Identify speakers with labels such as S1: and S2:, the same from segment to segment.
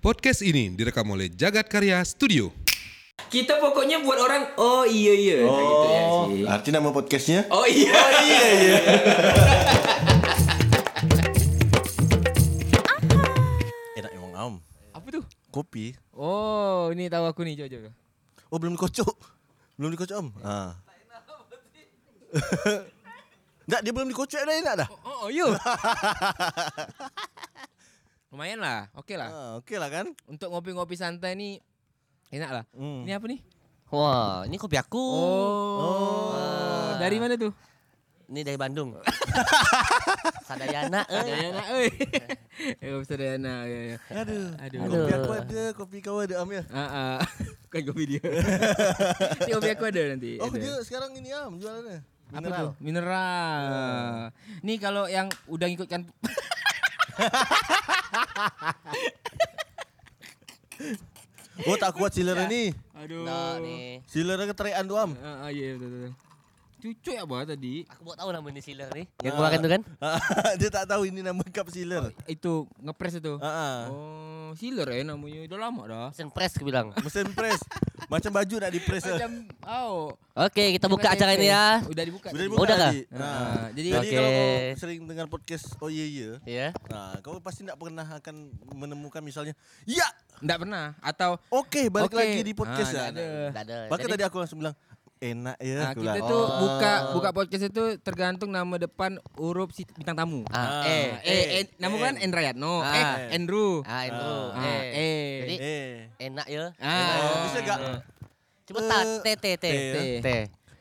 S1: Podcast ini direkam oleh Jagat Karya Studio.
S2: Kita pokoknya buat orang oh iya iya Nah, gitu ya
S3: Oh,
S2: sih.
S3: arti nama podcastnya?
S2: Oh iya iya iya.
S3: Enak emang am.
S4: Apa tuh?
S3: Kopi.
S4: Oh, ini tahu aku nih, coba coba.
S3: Oh belum dikocok. Belum dikocok om. Ah. Enggak dia belum dikocok dah enak dah.
S4: Oh, oh yuk. Lumayan lah, oke lah.
S3: Ah, Okey lah kan.
S4: Untuk ngopi-ngopi santai nih enak lah.
S3: Hmm.
S4: Ini apa nih?
S5: Wah, ini kopi aku.
S4: Oh. Dari mana tuh?
S2: Eh.
S5: Ini dari Bandung. Sadayana. eh.
S4: Sadayana, oi. Eh, kopi Sadayana, ya ya.
S3: Aduh.
S4: Aduh.
S3: Kopi aku ada, kopi kau ada am ya.
S4: Ah, ah. Bukan kopi dia. Ini kopi aku ada nanti.
S3: Oh
S4: ada.
S3: dia sekarang ini am jualannya.
S4: Apa tuh? Mineral. Ah. Nih kalau yang udah ngikutkan
S3: Oh tak kuat siler ini.
S4: Aduh.
S5: Nah, nih.
S3: Siler keterian tu am.
S4: Ah, ah, iya betul betul. Cucu ya bah tadi.
S5: Aku mau tahu nama ini sealer nih. Yang kemarin tuh kan?
S3: Ah, dia tak tahu ini nama cup siler.
S4: Itu ngepres itu.
S3: Ah, ah.
S4: Oh, sealer ya namanya. Udah lama dah.
S5: Mesin press aku bilang.
S3: Mesin press. Macam baju nak di press.
S4: Macam oh.
S5: Oke, kita buka
S4: Macam
S5: acara ini
S4: tempe.
S5: ya.
S4: Udah dibuka.
S3: Sudah
S4: tadi.
S3: dibuka
S5: Udah
S3: tadi.
S4: kah? Oh,
S3: Ah.
S4: Ah,
S3: Jadi,
S4: jadi-
S3: kalau
S5: Okey.
S3: kau sering dengar podcast Oh Iya Iya,
S5: Iya.
S3: nah, kau Ha, pasti tidak pernah akan menemukan misalnya, ya
S4: Nggak pernah atau
S3: oke balik
S4: Oke.
S3: lagi di podcast
S4: Ah, nggak
S3: ya.
S4: ada.
S5: Nggak ada.
S3: Bahkan
S5: Jadi-
S3: tadi aku langsung bilang enak ya.
S4: Nah,
S3: aku
S4: ah, kita
S3: bilang.
S4: tuh
S3: Oh.
S4: buka buka podcast itu tergantung nama depan huruf si bintang tamu.
S5: Ah,
S3: Ah,
S5: eh, eh,
S4: Eh, eh, nama kan Endrayatno,
S5: Ah.
S4: eh Andrew.
S5: Ah, itu.
S4: Ah,
S5: Eh.
S4: eh.
S5: Jadi
S3: Eh,
S5: enak ya.
S4: Ah.
S3: Oh, bisa gak?
S5: Cepetan.
S3: Eh,
S5: T T T
S3: T.
S5: T.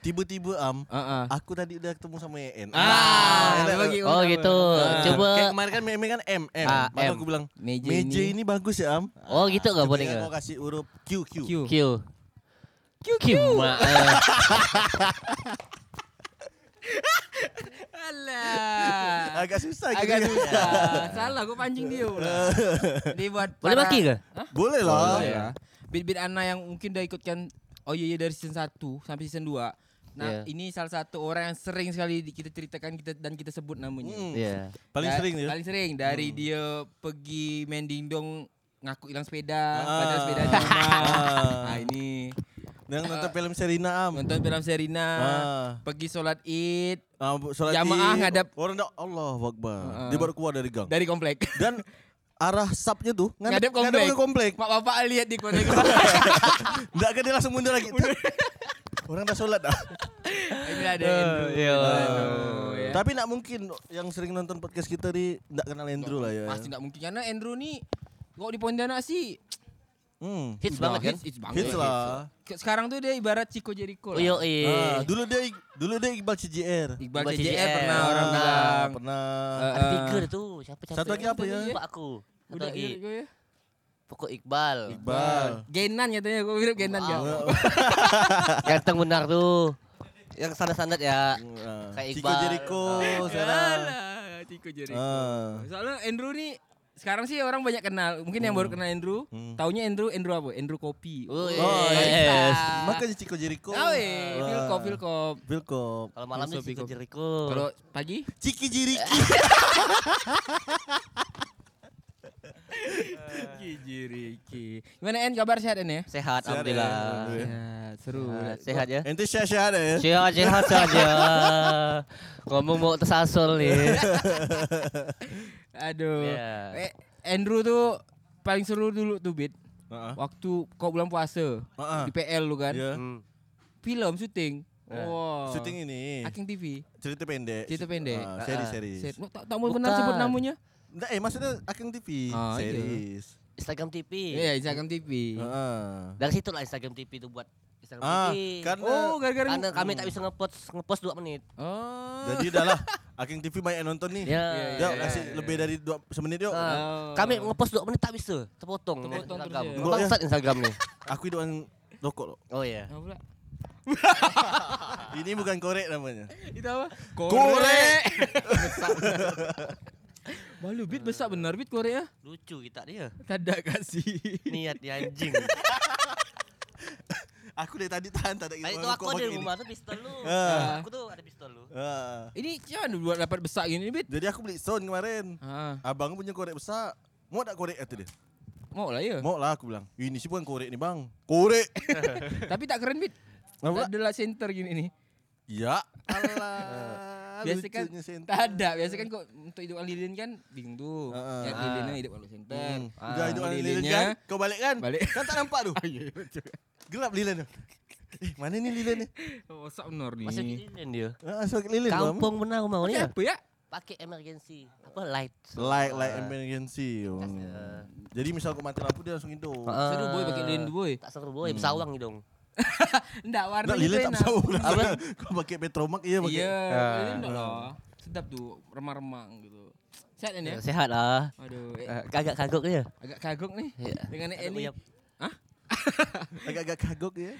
S3: Tiba-tiba am,
S4: Ah, ah.
S3: aku tadi udah ketemu sama EN.
S4: Ah,
S3: enak.
S4: bagi
S5: Oh gitu.
S4: Ah.
S5: Coba.
S3: Kayak kemarin kan meme kan M, M.
S5: Ah,
S3: Maka
S5: M.
S3: aku bilang,
S4: Meja
S3: meja,
S4: ini-
S3: ini. bagus ya am.
S5: Oh gitu nggak boleh
S3: Ketika
S5: nggak?
S3: Kau kasih huruf Q, Q.
S4: Q.
S5: Q. Q Q. Ma- eh.
S4: Alah.
S3: Agak susah gitu
S4: Agak
S3: ya.
S4: susah. Salah gue pancing dia pula. Dia buat
S5: Boleh
S4: para-
S5: maki nggak?
S3: Boleh lah.
S4: Boleh ya. Bit-bit Ana yang mungkin udah ikutkan Oh iya iya dari season 1 sampai season 2. Nah,
S5: Iya.
S4: ini salah satu orang yang sering sekali di- kita ceritakan kita dan kita sebut namanya.
S3: Mm.
S5: Iya.
S3: Paling
S4: Da-
S3: sering ya.
S4: Paling sering dari dia pergi main dingdong ngaku hilang sepeda,
S3: Ah.
S4: padahal sepeda di rumah.
S3: Ah.
S4: Nah, ini
S3: Yang nonton film Serina am.
S4: Ah. nonton film Serina,
S3: Ah.
S4: pergi sholat Id
S3: Ah, bu- Solat
S4: Jamaah
S3: id,
S4: ngadap-
S3: orang dah Allah Akbar.
S4: Heeh.
S3: Dia baru keluar dari gang.
S4: dari komplek.
S3: Dan arah sapnya tuh
S4: Ngadep komplek.
S3: ke komplek.
S4: Mak bapak lihat di komplek.
S3: Enggak kan dia langsung mundur lagi. orang dah solat dah.
S4: ini ada
S3: Eh,
S4: Andrew. gitu.
S5: iya.
S4: Aduh, ya.
S3: Tapi nak mungkin yang sering nonton podcast kita ni enggak kenal Andrew lah ya.
S4: Pasti nggak mungkin karena Andrew nih kalau di Pontianak sih
S3: Hmm.
S5: Hits
S4: udah,
S5: banget kan?
S4: hits, hits banget.
S3: Hits lah.
S4: Ke- Sekarang tuh dia ibarat Chico Jericho. lah.
S5: Yo
S3: Ah,
S5: eh.
S3: dulu dia dulu dia Iqbal CJR.
S4: Iqbal
S5: Iqbal
S4: CJR
S5: CJR.
S4: pernah
S3: Ah,
S4: orang bilang.
S3: pernah.
S4: Eh,
S5: Ada
S4: eh,
S5: tiga dah tu. Siapa siapa?
S3: Satu lagi apa ya?
S5: Lupa aku. Satu
S4: udah
S5: lagi.
S4: mirip gua ya.
S5: Pokok Iqbal.
S3: Iqbal.
S4: Genan katanya gue mirip Genan ya.
S3: Iya.
S5: Ganteng benar tuh. Yang standar-standar ya.
S3: Ah,
S5: Kayak
S3: Chico
S5: Iqbal.
S3: Jericho sekarang.
S4: Alah, Eh. Chico Jericho.
S3: Ah.
S4: Soalnya Andrew nih sekarang sih orang banyak kenal. Mungkin yang baru
S3: Hmm.
S4: kenal Andrew, taunya Andrew Andrew apa? Andrew Kopi.
S5: Oh,
S4: barista.
S5: yes.
S3: Makanya Chico Jericho.
S4: Tahu eh,
S3: Ah.
S4: Phil Kop, Phil Kop.
S3: Vilkop.
S5: Kalau malam
S4: Masuk
S5: nih Chico
S4: Biko.
S5: Jericho.
S4: Kalau pagi
S3: Ciki Jiriki.
S4: Kijiriki. Gimana En kabar sehat En ya? Ah,
S3: Sehat,
S5: Sehat, alhamdulillah.
S3: ya.
S4: Sehat, seru.
S5: Sehat, Sehat ya.
S3: Ente syah-syah ada ya.
S5: Sehat, sehat saja. Ngomong mau tersasul nih.
S4: Aduh.
S5: Ya.
S4: Eh, Andrew tuh paling seru dulu tuh Bit.
S3: Heeh.
S4: Waktu kau bulan puasa
S3: Ah, ah.
S4: di PL lu kan.
S3: Iya.
S5: Hmm.
S4: Film syuting. Wow.
S3: Syuting ini.
S4: Aking TV.
S3: Cerita pendek.
S4: Cerita pendek.
S3: Ah, seri seri.
S4: Set. Lu Tak tak mau benar sebut
S5: Bukan.
S4: namanya.
S3: Nggak, eh maksudnya Akang TV
S4: Ah, iya.
S3: series.
S5: Instagram TV.
S4: Iya, Instagram TV.
S3: Ah.
S5: Dari situ lah Instagram TV itu buat Instagram
S3: Ah,
S5: TV.
S3: karena
S4: Oh, gara-gara
S5: Karena kami tak bisa ngepost ngepost 2 menit.
S4: Oh.
S3: jadi dah lah Akang TV banyak yang nonton nih.
S5: Ya.
S3: Yuk, kasih lebih dari dua semenit yuk.
S4: Oh.
S5: Ah, Kami ngepost 2 menit tak bisa. Terpotong.
S4: Terpotong terus
S5: Instagram.
S4: ya.
S5: Bangsat Instagram nih.
S3: Aku hidupan rokok loh.
S5: Oh iya.
S4: Apa pula?
S3: Ini bukan korek namanya.
S4: Itu apa?
S3: Korek.
S4: Malu Bit besar benar Bit Korea.
S5: Lucu kita dia.
S4: Tidak kasih.
S5: Niat di anjing.
S3: Aku dari tadi tahan tak ada
S5: Tadi
S3: hidupan
S5: tuh aku
S3: rokok
S5: ada
S3: pakai
S5: di
S3: ini.
S5: rumah tuh pistol lu.
S3: Ah.
S5: Aku tuh ada pistol lu.
S3: Ah.
S4: Ini gimana buat dapat besar gini Bit?
S3: Jadi aku beli sound kemarin.
S4: Ah.
S3: Abang punya korek besar. Mau tak korek kata dia?
S4: Mau lah ya.
S3: Mau lah aku bilang. Ini sih bukan korek nih bang. Korek.
S4: Tapi tak keren bit.
S3: Apa?
S4: Adalah center gini nih.
S3: Ya. Allah.
S4: Biasa kan
S3: lucunya sen-
S4: tak ada. Biasa kan kok untuk hidup lilin kan bingung tuh.
S3: Heeh.
S4: Ya lilinnya hidup kalau center.
S3: Ha, Hmm.
S4: Ah,
S3: Udah itu lilin
S4: lilinnya.
S3: kan? Kau balik kan?
S4: Balik. Ah, ya,
S3: Kan tak nampak tu. Gelap lilin tu. Eh, mana ni lilin ni?
S4: Oh, sak benar nih.
S5: Masih lilin dia.
S3: Ah, so lilin tu,
S5: Kampung benar mau
S4: Pakai
S5: ni.
S4: apa ya?
S5: Pakai emergency. Apa light.
S3: Am. Like like
S5: Ah.
S3: emergency. Oh.
S5: Ah.
S3: Jadi misal kau mati lampu dia langsung hidup.
S5: Ah.
S4: Seru boy pakai lilin tu, boy.
S5: Tak seru boy, bersawang ni dong.
S4: Enggak warna
S3: Nak lilin tak tahu pula.
S5: Apa?
S3: Kau pakai petromak ya pakai.
S4: lah. Iya,
S5: Ah.
S4: lilin enggak lah. Sedap tuh, remang-remang gitu. Sehat kan ya?
S5: Sehat lah.
S4: Aduh, eh,
S3: Ah.
S5: Eh, Kagak-kagok dia.
S4: agak kagok nih
S3: Ya.
S5: Iya.
S4: dengan
S5: Agak
S4: Eli.
S5: uyap.
S4: Hah?
S3: Agak-agak kagok ya.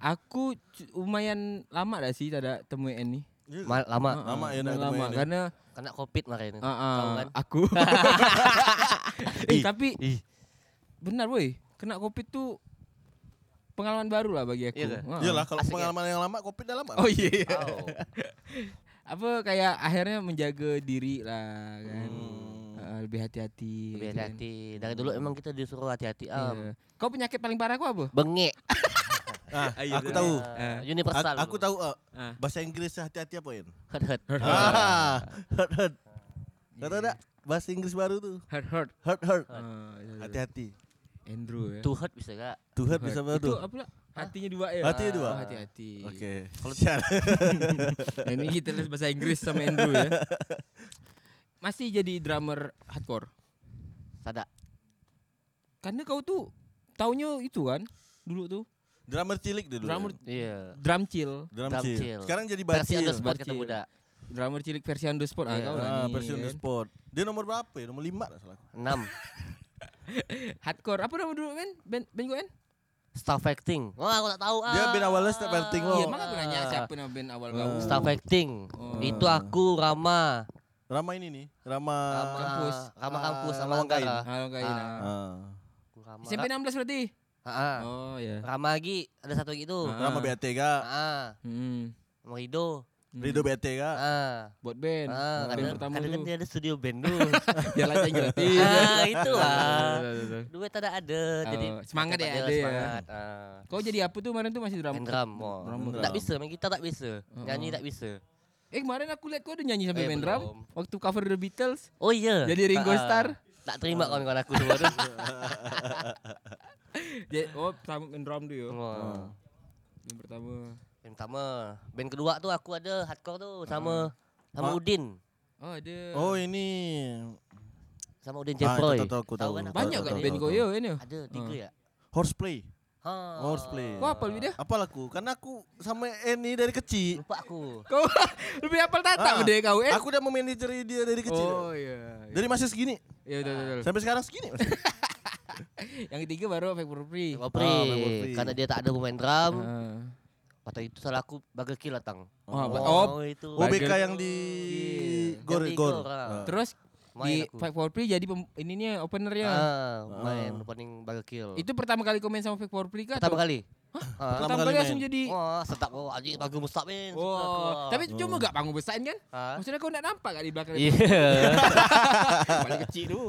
S4: Aku cu- lumayan lama dah sih tak ada temui Eni.
S5: Ma- Lama.
S3: Lama ya nak temui
S4: Ah, lama
S3: Annie.
S4: karena
S5: Kena covid kemarin.
S4: ah, ah,
S5: Kau kan?
S4: aku. eh, tapi
S5: Ih.
S4: benar boy, kena covid tuh pengalaman baru lah bagi aku.
S5: Iya ke?
S4: Ah.
S3: Iyalah kalau
S5: Asik ya.
S3: pengalaman yang lama covid dah lama.
S4: Oh iya.
S5: Wow.
S4: Apa kayak akhirnya menjaga diri lah kan.
S3: Hmm.
S4: Ah, lebih hati-hati.
S5: Lebih
S4: gitu kan.
S5: hati-hati. Um. Dari dulu emang kita disuruh hati-hati. Am.
S4: Iya. Kau penyakit paling parah kau apa?
S5: Bengek.
S3: Ah,
S4: Ayo,
S3: aku
S4: dah.
S3: tahu.
S5: Ah,
S4: Eh.
S5: Universal.
S3: Aku, aku tahu ah,
S4: Ah.
S3: bahasa Inggris hati-hati apa ya?
S5: Hurt hurt.
S3: Ah, hurt hurt.
S4: Iya.
S3: Kau tahu tak bahasa Inggris baru tuh?
S4: Heart heart.
S3: Hurt hurt.
S4: Ah, iya, iya.
S3: Hati-hati.
S4: Andrew ya.
S5: To hurt bisa gak?
S3: To hurt bisa berapa
S4: Itu
S3: tuh?
S4: apa lah? Hatinya dua ya.
S3: Hatinya dua?
S4: Oh, hati-hati.
S3: Oke. Kalau sial.
S4: Nah, ini kita les bahasa Inggris sama Andrew ya. Masih jadi drummer hardcore.
S5: Sada.
S4: Karena kau tuh taunya itu kan dulu tuh
S3: drummer cilik dulu.
S4: drummer
S5: Iya.
S4: drum chill,
S3: Drum
S5: Drum
S3: chill.
S5: chill.
S3: Sekarang jadi
S5: Versi
S3: bacil.
S5: underspot kata
S4: Bacil.
S5: budak.
S4: drummer cilik versi underspot ah
S5: Iya.
S4: kau lah
S3: Ah,
S4: ni,
S3: versi
S4: kan.
S3: on the spot. Dia nomor berapa ya? Nomor lima lah salah. aku.
S5: Enam.
S4: Hardcore. Apa nama dulu men? Ben Ben kau kan?
S5: Staff acting. Wah, aku tak tahu.
S3: Dia
S5: ah. Oh.
S3: band awalnya staff acting lo.
S4: Iya, makanya aku nanya siapa nama band awal kau.
S5: Staff acting. Itu aku Rama.
S3: Rama ini nih. Rama.
S5: Rama
S4: kampus.
S5: Rama
S3: Ah,
S5: kampus sama
S3: Lawang Kain.
S5: Anggara.
S4: Halo kau
S5: Ah.
S4: ini.
S3: Ah.
S5: Aku Rama.
S4: SMP 16 berarti.
S5: Ah, ah.
S4: Oh ya.
S5: Rama lagi ada satu lagi tuh.
S4: Ah.
S3: Rama BATK.
S5: Ah,
S4: Hmm.
S5: sama Rido.
S3: Rido BATK.
S5: Ah.
S4: Buat band.
S5: Ah,
S4: Band
S5: kadang,
S4: pertama
S5: kadang kan
S4: tuh.
S5: dia ada studio band tuh.
S4: Jalan aja gratis.
S5: ah, itu lah.
S4: Iya, Betul, betul, betul.
S5: Duit tak ada ada. Jadi
S4: Oh, semangat ya,
S5: dapat
S4: ada ya.
S5: Semangat. Ah.
S4: Kau jadi apa tuh kemarin tuh masih drum?
S5: Main drum. wah.
S4: Drum,
S5: Tak
S3: drum.
S5: bisa, main gitar tak bisa. Nyanyi tak bisa.
S4: Eh kemarin aku lihat kau udah nyanyi sampai
S5: Eh,
S4: main drum
S5: belum.
S4: waktu cover The Beatles.
S5: Oh iya.
S4: Jadi Ringo
S5: Ah, ah.
S4: Starr.
S5: Tak terima kawan-kawan aku semua tuh.
S4: Dia- oh sama main drum tuh yo.
S5: Wah.
S3: Ah.
S4: Yang pertama.
S5: Band pertama. Band kedua tuh aku ada hardcore tuh sama sama
S3: Ah. Ma-
S5: Udin.
S4: Oh ada.
S3: Oh ini.
S5: Sama Udin
S3: Ah,
S5: Jeffroy.
S3: itu tahu, aku tahu. Ah.
S5: kan aku?
S4: Banyak
S3: Tahu,
S4: kan
S3: tahu,
S4: band
S3: tahu,
S4: kau
S3: tahu.
S4: yo ini.
S5: Ada tiga ya?
S3: Horseplay.
S5: Ha.
S3: Horseplay.
S4: Kau apa lebih dia?
S3: Apa laku? Karena aku sama Eni dari kecil.
S5: Lupa aku.
S4: Kau lebih hafal
S3: Ah,
S4: tata udah kau eh.
S3: Aku udah memanajeri dia dari kecil.
S4: Oh iya. iya.
S3: Dari masih segini
S4: Ya betul betul.
S3: sampai sekarang segini. masih.
S4: Yang ketiga baru Fake for Free.
S5: Kopri.
S3: Ah, main kopri.
S5: Karena dia tak ada pemain drum.
S4: Ah.
S5: Atau itu salah aku bagai kill datang.
S4: Oh, ba- oh.
S5: itu.
S3: Oh BK yang di
S5: Yang
S3: Gor
S5: di
S3: Gor.
S5: Gor, ah.
S3: Ah.
S4: Terus di
S5: Main aku.
S4: Fake for Free jadi pem- ininya openernya.
S5: Ah, main opening bagai kill.
S4: Itu pertama kali kau main sama Fake for Free kah?
S5: pertama
S4: atau-
S5: kali. Ah.
S4: Pertama
S3: Pertama
S4: kali
S3: kali
S4: langsung
S3: main.
S4: jadi
S5: Wah, setap oh anjing bagus mustap men.
S4: Oh, tapi cuma gak panggung besaran kan?
S5: Ah.
S4: Maksudnya kau nak nampak gak di belakang?
S5: Iya.
S4: Paling kecil tu.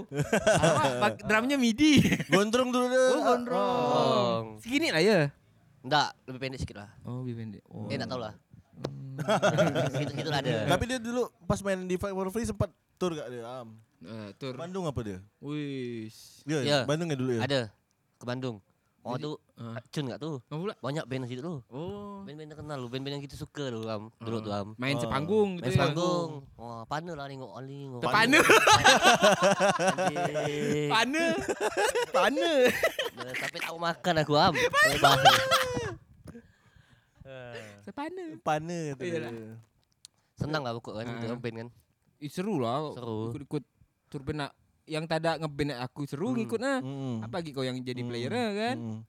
S4: Alamak, bag- drumnya midi.
S3: Gondrong dulu deh.
S4: Oh, gondrong. Segini lah ya.
S5: Enggak, lebih pendek sikit lah.
S4: Oh, lebih pendek. Oh.
S5: Eh, enggak tahu lah.
S4: Hmm.
S5: Gitu-gitu lah ada.
S3: Ah. Tapi dia dulu pas main di Fight for Free sempat tur gak dia? Am?
S4: Uh, tur.
S3: Bandung apa dia?
S4: Wis.
S3: Iya,
S5: Ya.
S3: Bandung ya dulu ya.
S5: Ada ke Bandung. Oh tu
S4: ah.
S5: cun enggak tuh?
S4: Apa pula?
S5: Banyak band situ tu.
S4: Oh.
S5: Band-band terkenal lu, band-band yang kita suka lu am. Dulu tu am.
S4: Main sepanggung Ah. gitu
S5: Ah. Main
S4: ya.
S5: panggung. Wah, pana lah tengok Ali. tengok.
S4: Terpana.
S5: Anjing.
S4: Pana. Pana.
S5: Dah Sampai tak mau makan aku am. Pana.
S4: Sepana.
S3: Pana tu.
S4: Iyalah.
S5: Senang lah pokok
S4: Ah.
S5: kan, kita band kan.
S4: Eh, seru lah.
S5: Seru.
S4: Ikut-ikut tur benak. Yang tak ada ngeband aku seru
S5: Hmm.
S4: ngikut nah.
S3: Mm.
S4: Apa lagi kau yang jadi player lah kan?
S3: Mm.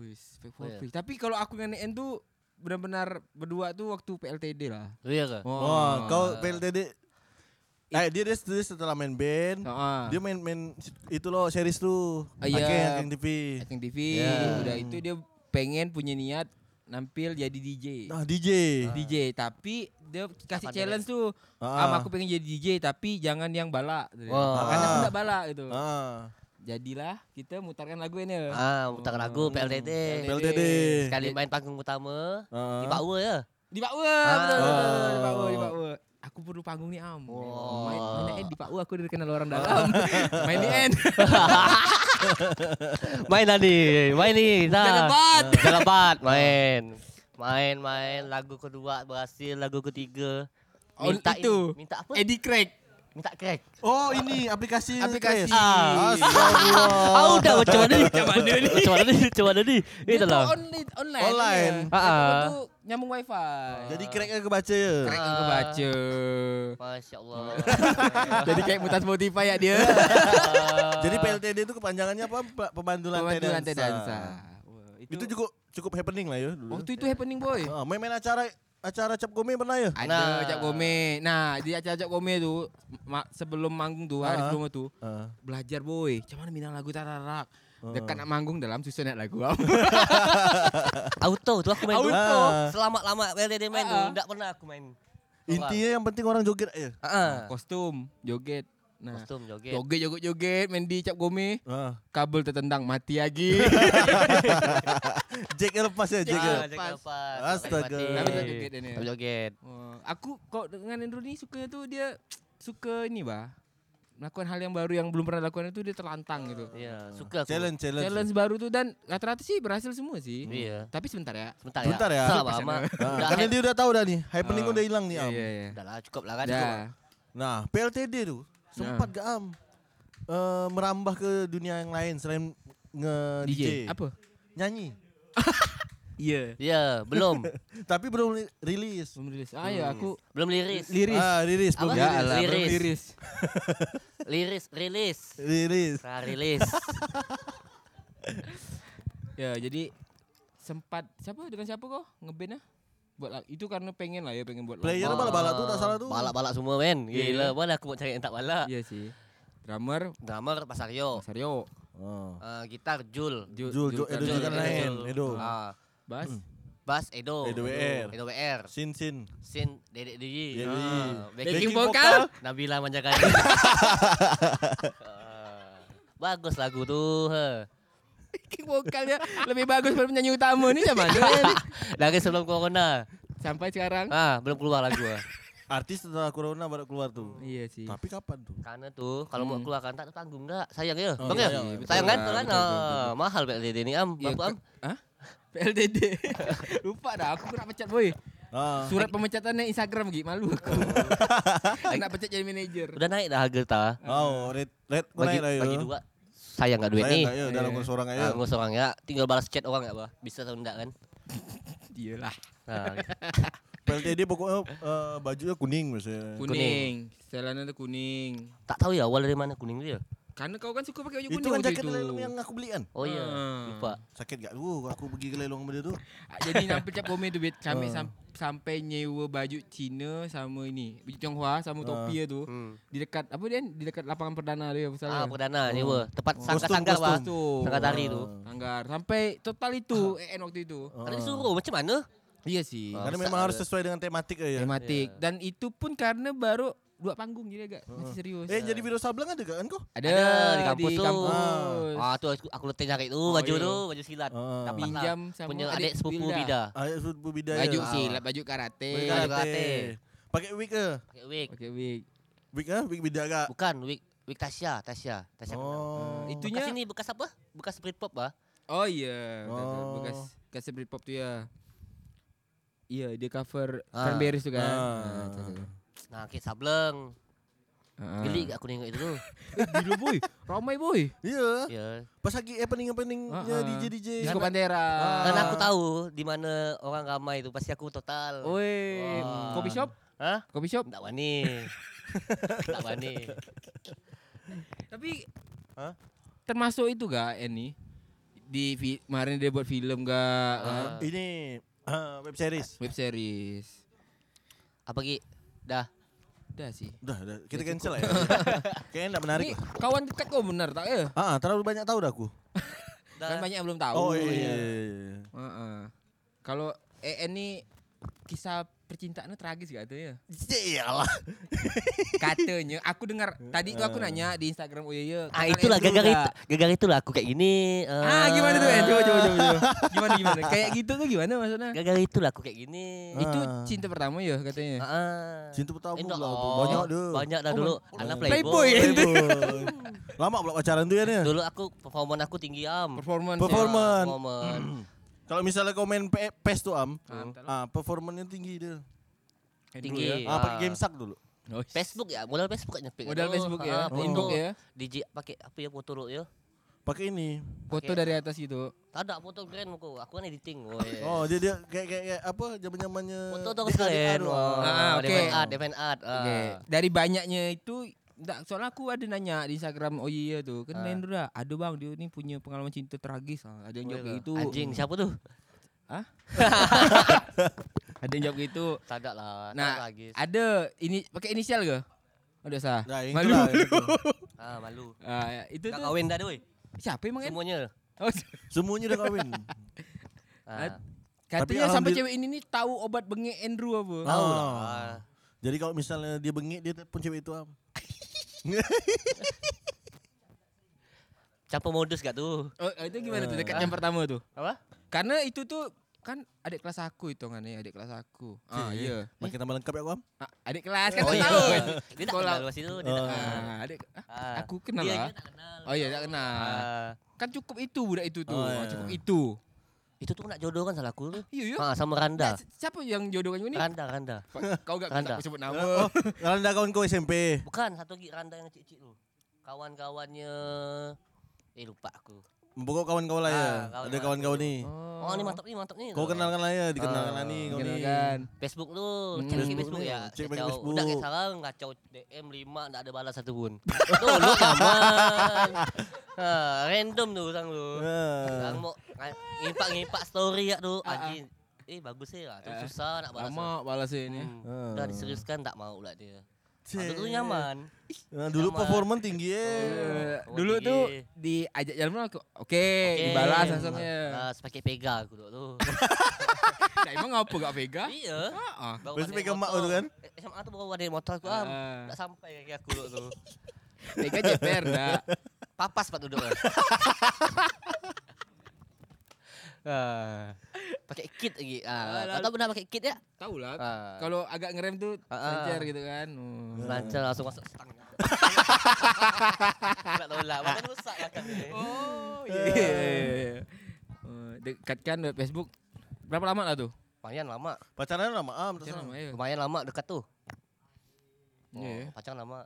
S4: Wis, Fake
S5: Oh,
S4: for
S5: ya.
S4: Free. Tapi kalau aku dengan En tuh benar-benar berdua tuh waktu PLTD lah.
S5: Tu ya
S4: Wah.
S5: ke?
S3: Wah, kau PLTD. Eh, dia dia sendiri setelah main band.
S4: Ah.
S3: Dia main main itu loh series lu.
S4: Ah, iya.
S3: Akeng, Akeng TV.
S4: Acting TV,
S5: Ya.
S4: udah itu dia pengen punya niat nampil jadi DJ.
S3: Nah, DJ.
S4: DJ, tapi dia kasih challenge tuh.
S3: Ah.
S4: Am aku pengen jadi DJ tapi jangan yang balak. Wow.
S5: Wah.
S4: Karena aku enggak balak gitu.
S3: Ah.
S4: Jadilah kita mutarkan lagu ini.
S5: Ah, mutar lagu PLDD.
S3: PLDD.
S5: Sekali main panggung utama
S3: Ah.
S5: di Power ya.
S4: Di Pak Ua, betul, betul, betul, betul, di Pak Ua, di
S3: Oh.
S4: Pak Ua. Aku perlu panggung nih am.
S5: Wah.
S4: Main, main di Pak Ua aku udah dikenal orang dalam. main di N.
S5: Main tadi, main nih. Nah.
S4: Jalabat.
S5: Jalabat, main. Main main lagu kedua berhasil, lagu ketiga.
S4: Oh,
S5: Minta
S4: itu. Eh.
S5: ini- minta apa?
S4: Eddie Craig.
S5: Minta crack.
S3: Oh ini aplikasi
S4: Aplikasi.
S3: Chris. Ah. Astagfirullah.
S5: Ah, udah macam mana ni? Macam mana ni? Macam mana ni? Macam mana ni?
S4: Dia
S5: Itu
S4: tuh
S5: lah.
S4: online. kan? Online.
S3: Online.
S4: Iya.
S5: Ah.
S4: Tapi kau tuh nyambung wifi.
S3: Jadi cracknya kebaca ya.
S4: Craig yang kebaca.
S5: Masya Allah.
S4: Jadi kayak mutan Spotify ya dia.
S3: Jadi PLTD itu kepanjangannya apa? Pe- Pemandu Lantai
S4: Pemandu
S3: Dansa.
S4: lantai dansa. Wah,
S3: Itu cukup cukup happening lah ya dulu.
S4: Waktu Oh, itu ya? happening boy.
S3: Ah, main-main acara acara cap gome pernah ya?
S4: Ada
S5: Nah.
S4: Cak Gome. Nah, di acara Cak Gome tuh ma- sebelum manggung tuh hari
S3: Ah.
S4: sebelum tuh
S3: Ah.
S4: belajar boy. Cuman minang lagu tararak. Dekat nak manggung dalam susun nak lagu.
S5: Auto tu aku main Ah. tu.
S3: Auto.
S5: Selamat lama PLDD main tu.
S4: Ah.
S5: Tak pernah aku main.
S3: Intinya yang penting orang joget aja.
S5: Ah.
S4: Kostum, joget. Nah,
S5: Kostum joget.
S4: joget joget joget main di Cap Gome.
S3: Ah.
S4: Kabel tertendang mati lagi.
S3: Jack lepas ya, Jack.
S5: Ah,
S4: Jaga.
S5: jaga lepas.
S3: Astaga.
S4: Tapi tak joget dia ni.
S5: Tapi joget.
S4: Wah, aku kok dengan Andrew ni suka tu dia suka ni bah. Melakukan hal yang baru yang belum pernah lakukan itu dia terlantang gitu.
S5: Ya, suka
S3: Ah.
S5: aku.
S3: Challenge, challenge.
S4: Challenge baru tuh dan rata-rata sih berhasil semua sih.
S5: Iya.
S4: Tapi sebentar ya.
S5: Sebentar ya.
S3: Bentar ya.
S5: Salah lama.
S3: Ah,
S5: Dah eh.
S3: karena dia Ya. udah tahu Eh, dah nih, happening
S4: Ah.
S3: udah hilang nih, Am.
S4: Iya, iya.
S5: Dah lah cukup lah kan.
S4: Dah.
S5: Cukup. lah.
S3: Nah, PLTD tuh sempat gak Am eh, merambah ke dunia yang lain selain nge DJ.
S4: DJ. Apa?
S3: Nyanyi.
S4: Iya.
S5: Ya, belum.
S3: Tapi belum li- rilis.
S4: Belum rilis. Ah ya aku
S5: Belum liris.
S4: liris.
S3: Ah, rilis
S5: Apa?
S3: belum
S5: Ya
S3: rilis.
S5: Allah.
S4: belum
S5: Liris.
S4: liris.
S5: Liris, rilis.
S3: Rilis.
S5: Nah, rilis.
S4: Ya jadi sempat siapa dengan siapa kok ngeband ah? Buat lagu. itu karena pengen lah ya pengen buat lagu.
S3: Player
S4: Ah,
S3: balak balak tuh tak salah tuh.
S5: Balak-balak semua men.
S4: Iya.
S5: Gila, mana aku mau cari yang tak balak.
S4: Iya sih. Drummer
S5: Drummer Pasario.
S4: Sario.
S3: Oh.
S5: Eh, gitar Jul.
S3: Jul, Jul, Hmm. Edo
S5: Jul,
S3: Zulkarnain,
S5: Jul.
S3: Edo.
S5: Ah,
S4: Bass.
S5: Bass Edo.
S3: Edo WR.
S5: Edo WR.
S3: Sin sin.
S5: Sin Dedek Didi.
S3: Dedek
S5: Ah,
S3: Didi.
S5: Backing
S4: Backing vocal.
S5: Nabila Manjakan. Ah, Bagus lagu ha. tuh. he.
S4: Backing vokalnya ya. lebih bagus daripada penyanyi utama nih sama aja.
S5: Dari sebelum corona.
S4: Sampai sekarang.
S5: Ah, belum keluar lagu. ah.
S3: Artis setelah corona baru keluar tuh.
S4: Iya sih.
S3: Tapi kapan tuh?
S5: Karena tuh kalau mau
S4: Hmm.
S5: keluar kan tak ada tanggung enggak? Sayang ya.
S3: Oh,
S5: Bang ya?
S3: iya, iya,
S4: betul.
S5: Sayang kan?
S4: Ah,
S5: tuh kan?
S4: betul, betul,
S5: Ah,
S4: betul.
S5: mahal PLDD ini am.
S4: Iya,
S5: Berapa am?
S4: ke- Hah? PLDD. Lupa dah aku kena pecat boy.
S3: Ah.
S4: Surat pemecatannya Instagram gigi malu aku. Kena pecat jadi manajer.
S5: Udah naik dah harga ta.
S3: Oh, red red kau
S5: Bagi
S3: naik lah ya.
S5: bagi dua. Sayang enggak duit
S3: Sayang
S5: nih?
S3: tak ya, dalam kursus orang aja.
S5: Ah, ngurus orang ya, tinggal balas chat orang ya, bah. Bisa atau enggak kan? Ah,
S4: Iyalah.
S5: Nah,
S3: PLTD pokoknya eh, bajunya kuning misalnya.
S4: Kuning. Setelannya tuh kuning.
S5: tak tahu ya awal dari mana kuning dia.
S4: Karena kau kan suka pakai baju kuning
S3: Itu kan
S4: waktu
S3: jaket lelong yang aku beli kan.
S5: Oh iya,
S4: Ah.
S5: lupa.
S3: Sakit gak lu aku pergi ke lelong benda tuh.
S4: Ah, Jadi nampil cap komen tu bet kami
S5: Ah.
S4: sam- sampai nyewa baju Cina sama ini baju Tionghoa sama topi dia tu
S5: Hmm.
S4: di dekat apa dia di dekat lapangan perdana dia apa salah.
S5: Ah, perdana ni weh. Tepat sangka-sangka
S3: Kostum,
S5: bah.
S4: kostum. Hmm.
S5: Sangka tari tu.
S4: Ah. Anggar sampai total itu EN waktu itu.
S5: Kan disuruh macam mana?
S4: Iya sih.
S5: Ah.
S3: Karena
S5: besar
S3: memang harus
S5: ada.
S3: sesuai dengan tematik eh, ya. aja.
S4: Tematik dan itu pun karena baru dua panggung jadi agak
S5: Ah.
S4: masih serius. Ah.
S3: Eh jadi Wiro Sableng ada gak kan kok?
S4: ada,
S5: Ada, di
S4: di kampus.
S5: kampus tu.
S4: kampus.
S5: Ah tu aku, aku letih cari tu
S4: Oh,
S5: baju
S4: iya.
S5: tu, baju silat.
S3: Ah.
S5: Dapat
S4: Pinjam
S5: lah.
S4: sama
S5: punya
S4: adik
S5: adik sepupu
S4: Wilda.
S5: Bida.
S3: Ayat sudut berbidaya.
S4: Baju silat, baju karate.
S3: Iya, Baju karate.
S5: Baju
S4: eh.
S5: karate.
S3: lah, eh. Pakai wig ke?
S5: Pakai wig.
S4: Pakai wig.
S3: Wig ah, wig bidara.
S5: Bukan wig wig Tasya, Tasya, Tasya. Kenal.
S3: Oh.
S4: Eh, Itu-
S5: Bekas ini bekas apa? Bekas ah? Britpop bah.
S4: Oh iya, betul, betul.
S3: Oh.
S4: bekas bekas Britpop tuh ya. Iya, dia cover
S5: Ah.
S4: Cranberries tuh kan.
S3: Ah.
S4: Ah, betul, betul.
S5: Nah, kit sableng.
S4: Ah.
S5: Geli gak aku nengok itu tu.
S4: Eh, Gila boy, ramai boy.
S3: Iya.
S5: Ya.
S3: Pas lagi happening-happeningnya
S4: Ah, ah.
S3: DJ DJ.
S4: Disco Pantera.
S5: Dan Ah. aku tahu di mana orang ramai itu pasti aku total.
S4: Oi,
S5: Wah.
S4: kopi shop?
S5: Hah?
S4: Kopi shop?
S5: Tak wani. tak wani.
S4: Tapi
S3: Hah?
S4: termasuk itu gak Eni? Di fi- kemarin dia buat film gak? kan?
S3: Ini ah, web series.
S4: Web series.
S5: Apa Ki? Dah.
S4: Udah sih.
S3: Udah, udah. kita cancel lah ya. Kayaknya enggak menarik
S4: Ini
S3: lah.
S4: kawan dekat kau benar tak ya?
S3: Ah, ah, terlalu banyak tahu dah aku.
S4: Kan
S5: Dah.
S4: banyak yang belum tahu.
S3: Oh iya. iya, iya.
S4: Heeh. Kalau EN nih kisah percintaannya tragis gak tuh ya?
S3: Iyalah.
S4: Katanya, aku dengar tadi itu aku nanya di Instagram "Oh, ya, Uyeye.
S5: Ah
S4: kenal
S5: itulah
S4: Andrew
S5: gagal
S4: nggak?
S5: itu. Gagal itulah aku kayak gini. eh.
S4: Ah gimana tuh? Eh, coba coba coba. coba. Gimana gimana? Kayak gitu tuh gimana maksudnya?
S5: Gagal itulah aku kayak gini.
S3: Ah.
S4: Itu cinta pertama ya
S5: Ah,
S4: katanya.
S5: Heeh.
S3: Cinta pertama
S5: Eh,
S3: pula tu.
S5: no.
S3: Banyak dia.
S5: Banyak dah
S4: Oh,
S5: dulu
S4: banyak.
S5: anak
S4: Playboy.
S5: playboy.
S3: Playboy. Lama pula pacaran tuh ya ni.
S5: Dulu aku performan aku tinggi am.
S4: Performance.
S3: Perform- Performan.
S5: Performan.
S3: Kalau misalnya komen pe- PES tuh am,
S4: Ah,
S3: ah, performanya tinggi dia.
S5: tinggi.
S4: ya.
S3: Ah, pakai game sak dulu.
S5: Facebook ya, modal Facebook kan nyepik.
S4: Modal
S5: tu.
S4: Facebook ya,
S5: Ah, foto.
S4: Facebook ya.
S5: DJ pakai apa ya foto lu ya?
S3: Pakai ini.
S4: Foto
S5: Pakai-
S4: dari atas gitu.
S5: Tak ada foto grand aku. Aku kan editing. weh.
S3: Oh, dia dia kayak kayak, kayak apa zaman-zamannya
S5: Foto tuh
S3: DAD
S5: keren.
S3: tu, ah.
S5: wah.
S4: Ah, oke.
S5: Depan Ha, art, depan art. ah.
S4: Oke. Dari banyaknya itu Nggak, soalnya aku ada nanya di Instagram oh iya tuh kan
S5: Ah.
S4: main dulu dah. Aduh bang dia ni punya pengalaman cinta tragis Ah, ada yang jawab kayak gitu
S5: Oh, Anjing siapa tuh?
S4: ada yang jawab kayak gitu
S5: Tak ada lah. tak
S4: Nah,
S5: lagi.
S4: ada ini pakai inisial ke udah sah
S3: Nah, yang
S4: malu
S3: itulah, yang itu.
S5: Ah malu.
S4: Ah, itu
S5: Gak
S4: tuh
S5: kawin dah doi.
S4: siapa emang kan
S5: Semuanya.
S4: oh,
S3: Semuanya udah kawin.
S5: Ah.
S4: katanya sampai
S3: alhamdulillah-
S4: cewek ini nih tahu obat bengek Andrew apa
S3: Ah.
S5: Tahu lah.
S3: Jadi kalau misalnya dia bengek dia telepon cewek itu am.
S5: Campur modus gak tuh?
S4: Oh, itu gimana tuh dekat yang pertama tuh
S5: Apa?
S4: karena itu tuh kan adik kelas aku itu kan ya adik kelas aku ah iya
S3: Makin tambah lengkap ya aku am.
S4: Ah, adik kelas kan
S5: Oh
S4: kau
S3: ya.
S5: iya.
S4: tahu kan
S5: Dia tak
S4: Sekolah.
S5: kenal pas itu. Dia tak kenal.
S4: Ah, adik
S5: Ah.
S4: aku kenal
S5: Dia
S4: lah.
S5: tak kenal.
S4: Oh iya, tak kenal.
S5: Ah.
S4: Kan cukup itu budak itu tuh.
S3: Oh, iya.
S4: Cukup itu.
S5: Itu tuh nak jodoh kan salah aku tuh.
S4: Iya, iya.
S5: Ah, sama Randa.
S4: Si- Siapa yang jodoh kan ini?
S5: Randa, Randa.
S4: Kau gak
S5: Randa.
S4: bisa aku sebut nama.
S3: Oh, Randa kawan kau SMP.
S5: Bukan, satu lagi Randa yang cik-cik tuh. Kawan-kawannya Eh lupa aku.
S3: Pokok kawan-kawan lah ya.
S5: Ah, kawan-kawan
S3: Ada kawan-kawan ni.
S5: Oh, ni mantap ni, mantap ni.
S3: Kau kenalkan lah ya, dikenalkan lah ni kau ni.
S4: Kenal kan.
S5: Facebook lu,
S4: Hmm.
S5: cek
S4: Facebook
S5: Facebook, Facebook
S3: ni,
S5: ya.
S3: cek
S5: kacau.
S3: Facebook.
S5: Udah kayak sekarang kacau DM 5 enggak ada balas satu pun. tuh lu nyaman. ha, random tuh sang lu.
S3: Ah.
S5: Sang mau nga- ngimpak-ngimpak story ya tuh. Anjing. Eh bagus sih lah, tuh
S4: Ah.
S5: susah nak balas.
S4: Lama balasnya ini.
S5: Hmm.
S3: Ah.
S5: Udah diseriuskan tak mau lah dia. Aku tuh nyaman.
S3: Ah, dulu
S5: Sama.
S3: performan tinggi ya.
S4: Eh,
S5: Oh,
S4: dulu
S5: tinggi.
S4: tuh diajak jalan aku. Oke,
S5: Oke.
S4: Eh, dibalas langsungnya.
S5: Balas pakai pega aku dulu tuh.
S4: Nah, emang ngapa gak Vega? Ah.
S5: Iya.
S4: Heeh.
S5: Baru
S3: Lepas tu
S5: pandai
S3: pegang mak
S5: motor.
S3: tu kan?
S5: Eh, SMA tu baru ada motor aku am.
S4: Ah.
S5: Tak sampai kaki aku dulu tu.
S4: Vega JPR dah.
S5: Papas pat duduk. kan. Ah. Pakai kit lagi.
S4: Ah,
S5: Ah,
S4: lalu-
S5: tak pernah pakai kit ya?
S4: Tahu lah.
S5: Ah.
S4: Kalau agak ngerem tuh
S5: Ah, ah.
S4: lancar gitu kan. Hmm.
S5: Lancar lah, langsung masuk stang. Tak tahu lah, makan rusak makan ni.
S4: Oh,
S3: Ya.
S4: iya. iya, iya. Eh, Dekatkan dari Facebook. Berapa lama lah tuh?
S5: Lumayan lama.
S3: Pacaran lama am, tak
S4: Macam
S3: salah.
S4: lama ya.
S5: Lumayan lama dekat tu. Oh,
S4: Iya.
S5: pacaran lama.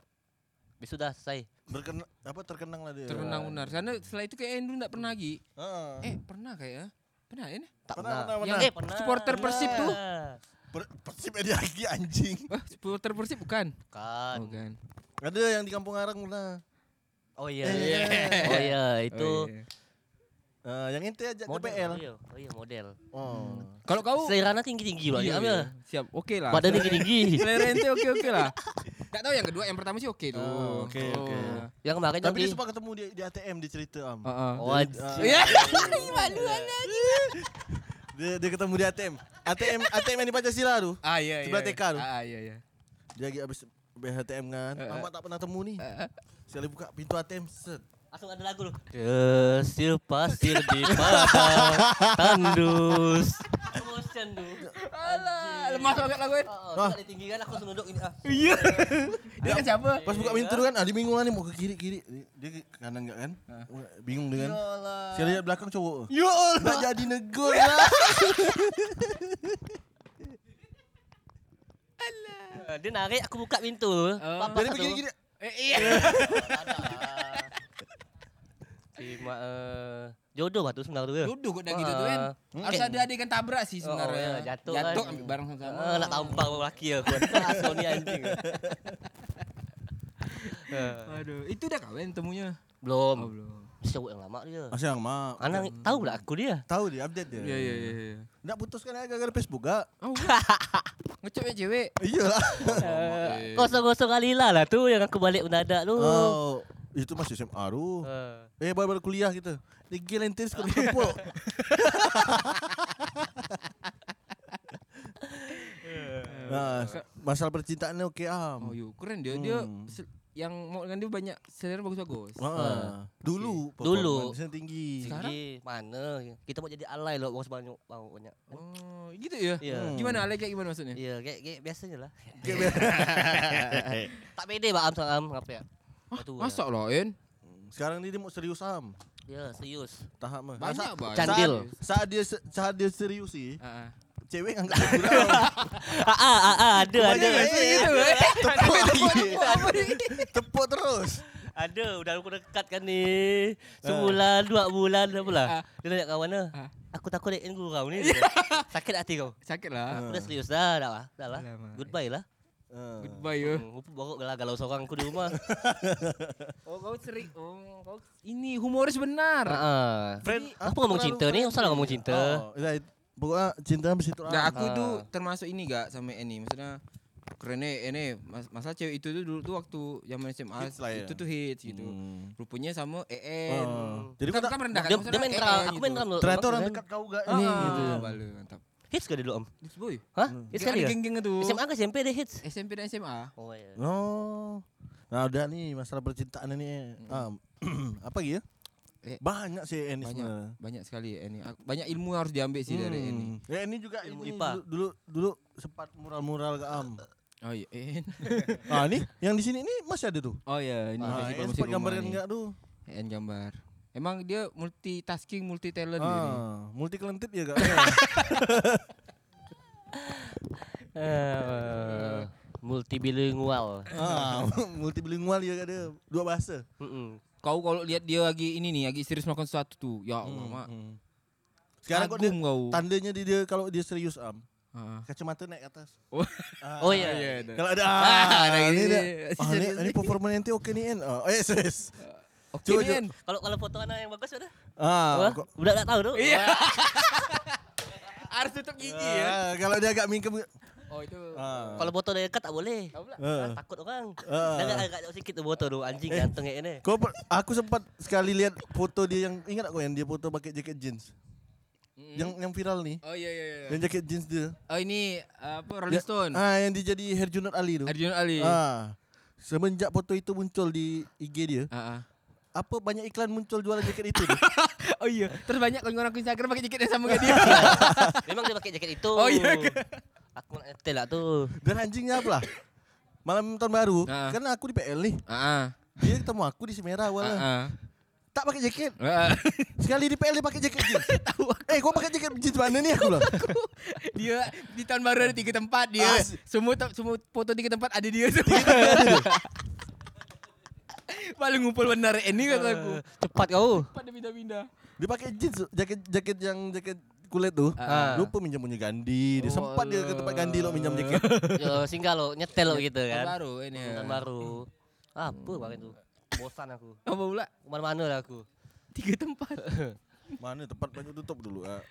S5: Besok dah selesai.
S3: Berkena, apa terkenang lah dia.
S4: Terbenang-benar. Karena setelah itu kayak Andrew enggak pernah lagi.
S3: Ah.
S4: Eh, pernah kayaknya. Pernah ya? Nih?
S5: Tak
S3: Pernah,
S5: pernah.
S3: pernah,
S4: Yang
S5: Eh, pernah.
S4: supporter Persib tu.
S3: Per- Persib ada lagi anjing.
S4: Wah, supporter Eh, Persib bukan?
S5: Kan.
S4: Bukan.
S3: Ada yang di Kampung Arang lah.
S5: Oh iya.
S3: Iya.
S5: Oh iya, itu
S4: Oh, iya.
S3: Ah, yang ente ajak ke
S5: model.
S3: PL.
S5: Oh iya, oh iya model.
S3: Oh.
S4: Kalau kau
S5: Selera tinggi-tinggi lah
S4: Iya,
S5: dia.
S4: iya.
S5: Amir.
S4: Siap, oke lah.
S5: Badan tinggi-tinggi.
S4: Selera ente oke-oke lah. Ah, Enggak tahu yang kedua, yang pertama sih oke tuh.
S3: Oh, oke, oke.
S4: Ah,
S5: Yang
S4: Eh,
S5: kemarin
S3: Tapi dia
S5: yang di-
S3: sempat ketemu di, di ATM dia cerita am.
S4: Heeh.
S5: Oh, anjing.
S4: Iya.
S3: Dia, dia ketemu di ATM. ATM ATM yang di Pancasila tu.
S4: Ah iya iya.
S3: Sebelah
S4: iya.
S3: TK tu.
S4: Ah iya iya.
S3: Dia lagi habis habis ATM kan.
S4: Eh, eh.
S3: Lama tak pernah temu ni. Sekali buka pintu ATM set.
S5: Langsung ada lagu lu. Desir pasir di padang tandus. Emotion tu.
S4: Alah, lemas banget lah gue.
S5: Oh, oh, dia tinggi kan aku langsung duduk ini ah.
S4: Iya. Dia kan siapa?
S3: Pas buka pintu tu kan ada bingung lah ni mau ke kiri kiri. Dia ke kanan enggak kan?
S4: Ah.
S3: Bingung dia kan. Sekali lihat belakang cowok.
S4: Ya Allah.
S3: Tak jadi negur lah.
S5: Eh, Dia narik aku buka pintu. Papas
S3: Jadi
S5: tu.
S3: begini gini.
S4: Eh, iya.
S5: Cuma eh, jodoh lah tu sebenarnya tu. ya.
S4: Duduk kok dah gitu tuh kan.
S5: Ah,
S4: Harus
S5: mungkin.
S4: ada adegan tabrak sih
S5: Oh, ya,
S4: sebenarnya.
S5: jatuh kan.
S4: Jatuh ambil barang sama-sama.
S5: Eh, nak tampar orang lelaki aku. Asal ni anjing. Eh,
S4: Aduh, itu udah kawin temunya.
S5: Belum.
S4: Oh, belum.
S5: Mesti Cowok yang lama dia.
S3: Asyang Ah, mak.
S5: Anak tahu lah aku dia.
S3: Tahu dia update dia.
S4: Iya, iya, iya. iya.
S3: Nak putuskan aja gara-gara Facebook gak?
S4: Oh, ngecek ya cewek.
S3: Iyalah.
S4: Eh,
S5: Kosong-kosong Alila lah tu yang aku balik mendadak tu.
S3: Oh, itu masih SMA tu.
S5: Eh,
S3: Eh baru-baru kuliah kita. Dia gila intens kau tumpuk.
S5: Eh.
S3: Nah, masalah percintaannya oke
S4: Oh
S3: am.
S4: yuk, keren dia. Dia
S3: Hmm.
S4: se- yang mau dengan dia banyak selera bagus-bagus.
S3: Ah, dulu
S5: Dulu.
S3: performance-nya tinggi.
S4: Sekarang?
S5: Tinggi, mana? Kita mau jadi alay loh, bos banyak, bau banyak.
S4: Oh, gitu ya.
S5: Iya.
S3: Hmm.
S4: Gimana Ale kayak gimana maksudnya?
S5: Iya, kayak kayak biasanya lah. tak pede Pak Am sama Am apa ya? Itu. ya.
S4: Masa loh, En?
S3: Sekarang ini dia mau serius am.
S5: Ya, serius.
S3: Tahap mah.
S4: Banyak
S3: Saat-
S4: banget.
S5: Candil.
S3: Saat, saat dia se- saat dia serius sih,
S4: Ah, ah.
S3: cewek nganggap kurang.
S5: Ah, ah, ah, ah, ada, ada. Iya.
S4: Gitu, eh.
S3: Tepuk lagi. Tepuk terus.
S5: Ada, udah aku dekat kan ni. Sebulan, dua bulan, dah pula.
S4: Ah.
S5: Dia tanya kat mana?
S4: Ah.
S5: Aku takut dia guru kau ni. Sakit hati kau.
S4: Sakit lah.
S5: Aku dah serius dah, dah lah. Dah lah.
S4: Alamak.
S5: Goodbye lah.
S3: Ah.
S4: Goodbye ya.
S5: Hmm, Rupa baru galau galau seorang aku di rumah.
S4: Oh, kau seri. Oh, kau ini humoris
S5: Ah,
S4: benar.
S5: Ha.
S3: Friend,
S5: Apa ngomong cinta ni? Usah lah ngomong cinta.
S3: Ah, Oh, dah, pokoknya cinta sampai situ lah. am.
S4: Nah, aku
S5: Ah.
S4: itu termasuk ini gak sama ini. Maksudnya kerennya ini mas masalah cewek itu tuh dulu tuh waktu zaman SMA
S3: Hits lah ya.
S4: itu tuh hits gitu.
S3: Hmm.
S4: Rupanya sama E Kan EN.
S3: Ah. Jadi
S4: Jadi
S3: kau
S4: kita
S3: tak
S4: merendahkan
S5: Oh. Dia,
S4: maksudnya
S5: dia main
S4: EN
S5: drum, aku
S4: gitu.
S5: main drum dulu.
S3: ternyata
S4: kan?
S3: orang dekat kau gak ini
S4: Ah,
S3: gitu.
S4: Balu mantap.
S5: Hits ke dulu om?
S4: Hits boy.
S5: Hah? Hits
S4: Kan
S5: kali ke?
S4: geng-geng itu.
S5: SMA ke SMP dia hits?
S4: SMP dan SMA.
S5: Oh ya.
S3: Oh. Nah udah nih masalah percintaan ini. Am. apa gitu?
S4: Hmm. Eh,
S3: Banyak sih ini
S4: Banyak
S3: sebenarnya.
S4: banyak sekali ya, ini. Banyak ilmu yang harus diambil sih dari ini.
S3: Hmm. Ya ini juga
S5: Ilmu
S3: ini
S5: IPA.
S3: dulu, dulu dulu sempat mural-mural ke Am.
S4: Oh iya. EN.
S3: Nah ini yang di sini ini masih ada tuh.
S4: Oh iya, ini festival
S3: Nah, ini
S4: musik
S3: sempat
S4: rumah
S3: gambarin
S4: nih.
S3: enggak tuh?
S4: EN gambar. Emang dia multitasking, gitu. multi talent Kan dia nih.
S3: Ah, multi kelentit ya kak.
S5: Eh, multibilingual.
S3: ah, multi bilingual ya kak dia. Dua bahasa.
S5: Mm-mm.
S4: Kau kalau lihat dia lagi ini nih, lagi serius melakukan sesuatu tuh. Ya Allah, Mak.
S3: Hmm. Sekarang kok dia,
S4: Kagum kau.
S3: tandanya di dia kalau dia serius Am.
S4: Ah.
S3: Kacamata naik ke atas.
S4: Oh.
S3: Ah.
S5: Oh iya.
S3: Kalau ada
S4: Ah, ada
S3: ini,
S4: gini.
S3: dia, ah, ini, ini performa nanti oke nih En. Oh, yes, yes.
S4: Oke,
S3: Coba,
S4: Nen.
S5: Kalau kalau foto anak yang bagus udah.
S3: Ah,
S5: Wah,
S3: kok-
S5: udah enggak tahu tuh.
S4: Iya. Harus tutup gigi ya.
S3: Ah, kalau dia agak mingkem.
S4: Oh, itu.
S3: Ah.
S5: Kalau foto dari dekat tak boleh.
S4: Tahu pula.
S5: Ah,
S3: Eh.
S5: takut orang.
S3: Ah.
S5: Jangan agak jauh sikit tuh foto tuh anjing ganteng kayak ini.
S3: Kau per- aku sempat sekali lihat foto dia yang ingat aku yang dia foto pakai jaket jeans. Yang yang viral nih.
S4: Oh iya iya iya.
S3: Yang jaket jeans dia.
S4: Oh ini apa Rolling
S3: Ya,
S4: Stone.
S3: Ah, yang dia jadi Herjunot Ali tuh.
S4: Arjun Ali. Ah.
S3: Ah. Semenjak foto itu muncul di IG dia,
S4: ah.
S3: apa banyak iklan muncul jualan jaket itu tuh?
S4: Oh iya, terus banyak orang-orang ke Instagram pakai jaket yang sama kayak dia.
S5: Memang dia pakai jaket itu.
S4: Oh, iya ke?
S5: Aku nak ngetel lah tuh.
S3: Dan anjingnya apa lah? Malam tahun baru,
S4: Ah. ah,
S3: karena aku di PL nih.
S4: Heeh.
S3: Dia ketemu aku di Semera awalnya.
S4: Heeh.
S3: Tak pakai jaket.
S4: ah.
S3: Sekali di PL dia pakai jaket jeans. Eh, gua pakai jaket jeans mana nih aku lah?
S4: Dia di tahun baru ada tiga tempat dia.
S3: Ah.
S4: Semua te- semua foto tiga tempat ada dia semua. Paling ngumpul benar ini kata aku.
S5: Cepat kau.
S4: Pada pindah-pindah.
S3: Dia pakai jeans, jaket jaket yang jaket kulit tuh.
S4: Ah. Oh.
S3: Lupa minjam punya Gandhi. Dia sempat dia ke tempat Gandhi lo minjam jaket.
S5: Yo singgah lo, nyetel lo gitu
S4: Iya Tahun
S5: kan.
S4: baru ini.
S5: Tahun baru. Apa bang itu? Bosan aku.
S4: Apa pula?
S5: Kemana-mana lah aku.
S4: Tiga tempat.
S3: Mana tempat banyak tutup dulu. ah.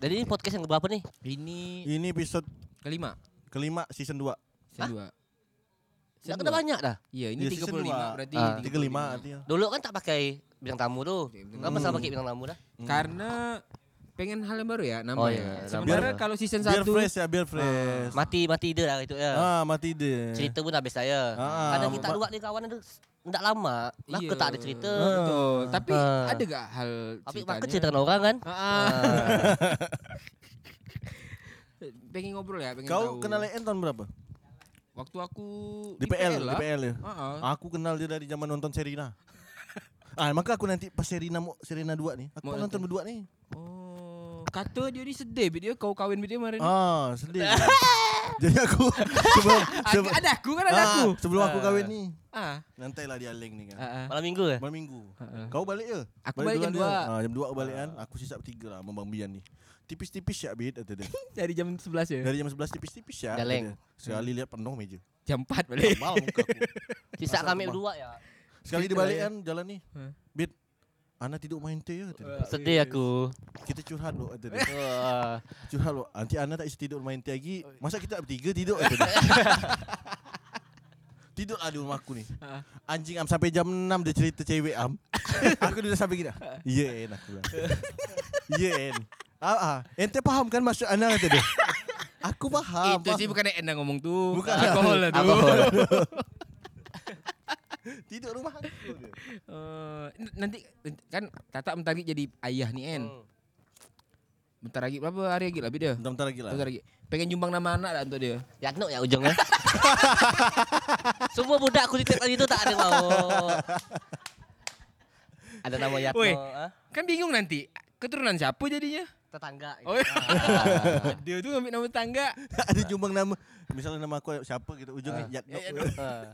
S5: Jadi ini podcast yang berapa nih?
S4: ini
S3: Ini episode
S4: kelima.
S3: kelima season 2.
S4: Season dua.
S5: Dah
S4: Season
S5: kena
S4: dua.
S5: banyak dah.
S4: Iya, ini
S3: Ya, season
S4: 35
S3: dua.
S4: berarti.
S5: Ah.
S3: 35 artinya.
S5: Dulu kan tak pakai bintang tamu tuh.
S4: Pakai bintang
S3: Hmm.
S5: Kenapa sama pakai bintang tamu dah?
S4: Karena pengen hal yang baru ya, nambah
S5: Oh, iya,
S4: ya.
S5: nambah.
S4: Sementara
S5: Biar-
S4: kalau season
S3: Biar
S4: 1
S3: fresh ya, biar fresh.
S5: Mati mati dia lah itu ya.
S3: Ah, mati dia.
S5: Cerita pun habis saya.
S3: Ah,
S5: Kadang kita
S3: ma-
S5: dua ni kawan itu enggak lama. Lah aku
S4: Iya.
S5: tak ada cerita.
S3: Ah,
S4: Betul. Oh, Tapi
S5: Ah.
S4: ada gak hal
S5: Tapi
S4: ceritanya?
S5: makan cerita dengan orang kan.
S4: Ah, ah.
S5: Ah.
S4: pengen ngobrol ya, pengen
S3: Kau
S4: tahu.
S3: kenal EN tahun berapa?
S4: waktu aku
S3: Di PL, di
S4: lah.
S3: PL ya.
S4: Ah, ah.
S3: Aku kenal dia dari zaman nonton Serina. Ah, maka aku nanti pas Serina mau Serina 2 nih. Aku
S4: Mau nonton.
S3: nonton, berdua nih.
S4: Oh, kata dia ni sedih bit dia kau kawin bit dia kemarin.
S3: Ah, sedih. dia. Jadi aku sebelum
S4: Ada,
S3: sebelum,
S4: ada aku kan ada
S3: Ah,
S4: aku.
S3: sebelum aku kawin nih.
S4: Ah.
S3: Nantailah dia link nih kan.
S4: ah, ah.
S5: Malam minggu ya.
S3: Malam minggu.
S4: Ah.
S3: Kau balik ya?
S4: Aku balik jam
S3: duluan dia.
S4: dua.
S3: Ah, jam 2 aku balik kan. Aku sisa tiga lah sama Bang Bian nih. Tipis-tipis ya bit kata dia.
S4: Dari jam 11 ya.
S3: Dari jam 11 tipis-tipis ya. kata
S5: Galeng.
S3: dia. Sekali lihat penuh meja.
S4: Jam 4 balik.
S3: Mal muka aku.
S5: Sisa
S3: Masa
S5: kami
S3: aku
S5: berdua ya.
S3: Sekali
S4: Cerita
S3: dibalik
S4: lah ya.
S3: kan jalan nih.
S4: Hah.
S3: Bit. Ana tidur main teh ya. kata dia.
S4: Uh.
S5: Sedih aku.
S3: Kita curhat loh kata dia.
S5: Wah.
S3: Curhat loh. Nanti Ana tak bisa tidur main teh lagi.
S4: Oh,
S3: Masa kita bertiga tidur kata dia. Tidur lah di rumah aku nih
S4: Ah.
S3: Anjing am sampai jam 6 dia cerita cewek am Aku udah sampai gini
S4: Ha.
S3: Iya Ya, en aku bilang Iya en ah, ah. Ente paham kan maksud Ana kata dia Aku paham.
S4: Itu sih
S3: paham.
S4: bukan Enda ngomong tuh.
S3: Bukan.
S4: Alkohol lah tuh.
S6: Alkohol.
S3: Tidur rumah aku. dia.
S4: Eh, n- nanti kan Tata bentar lagi jadi ayah nih En.
S5: Hmm.
S4: Bentar lagi berapa hari lagi lah Bi, dia?
S3: Bentar-bentar lagi lah.
S4: Bentar lagi. Pengen jumbang nama anak lah untuk dia.
S5: Yakno ya ujungnya. Semua budak aku titip tadi itu tak ada yang mau. Ada nama Yakno,
S4: Woi.
S5: ah,
S4: Kan bingung nanti keturunan siapa jadinya?
S5: tetangga. gitu.
S4: Oh, iya.
S5: Ah.
S4: dia tuh ngambil nama tangga.
S3: Ada jumbang nama. Misalnya nama aku siapa gitu ujungnya
S4: Ya,
S3: Yatno.
S5: Ah.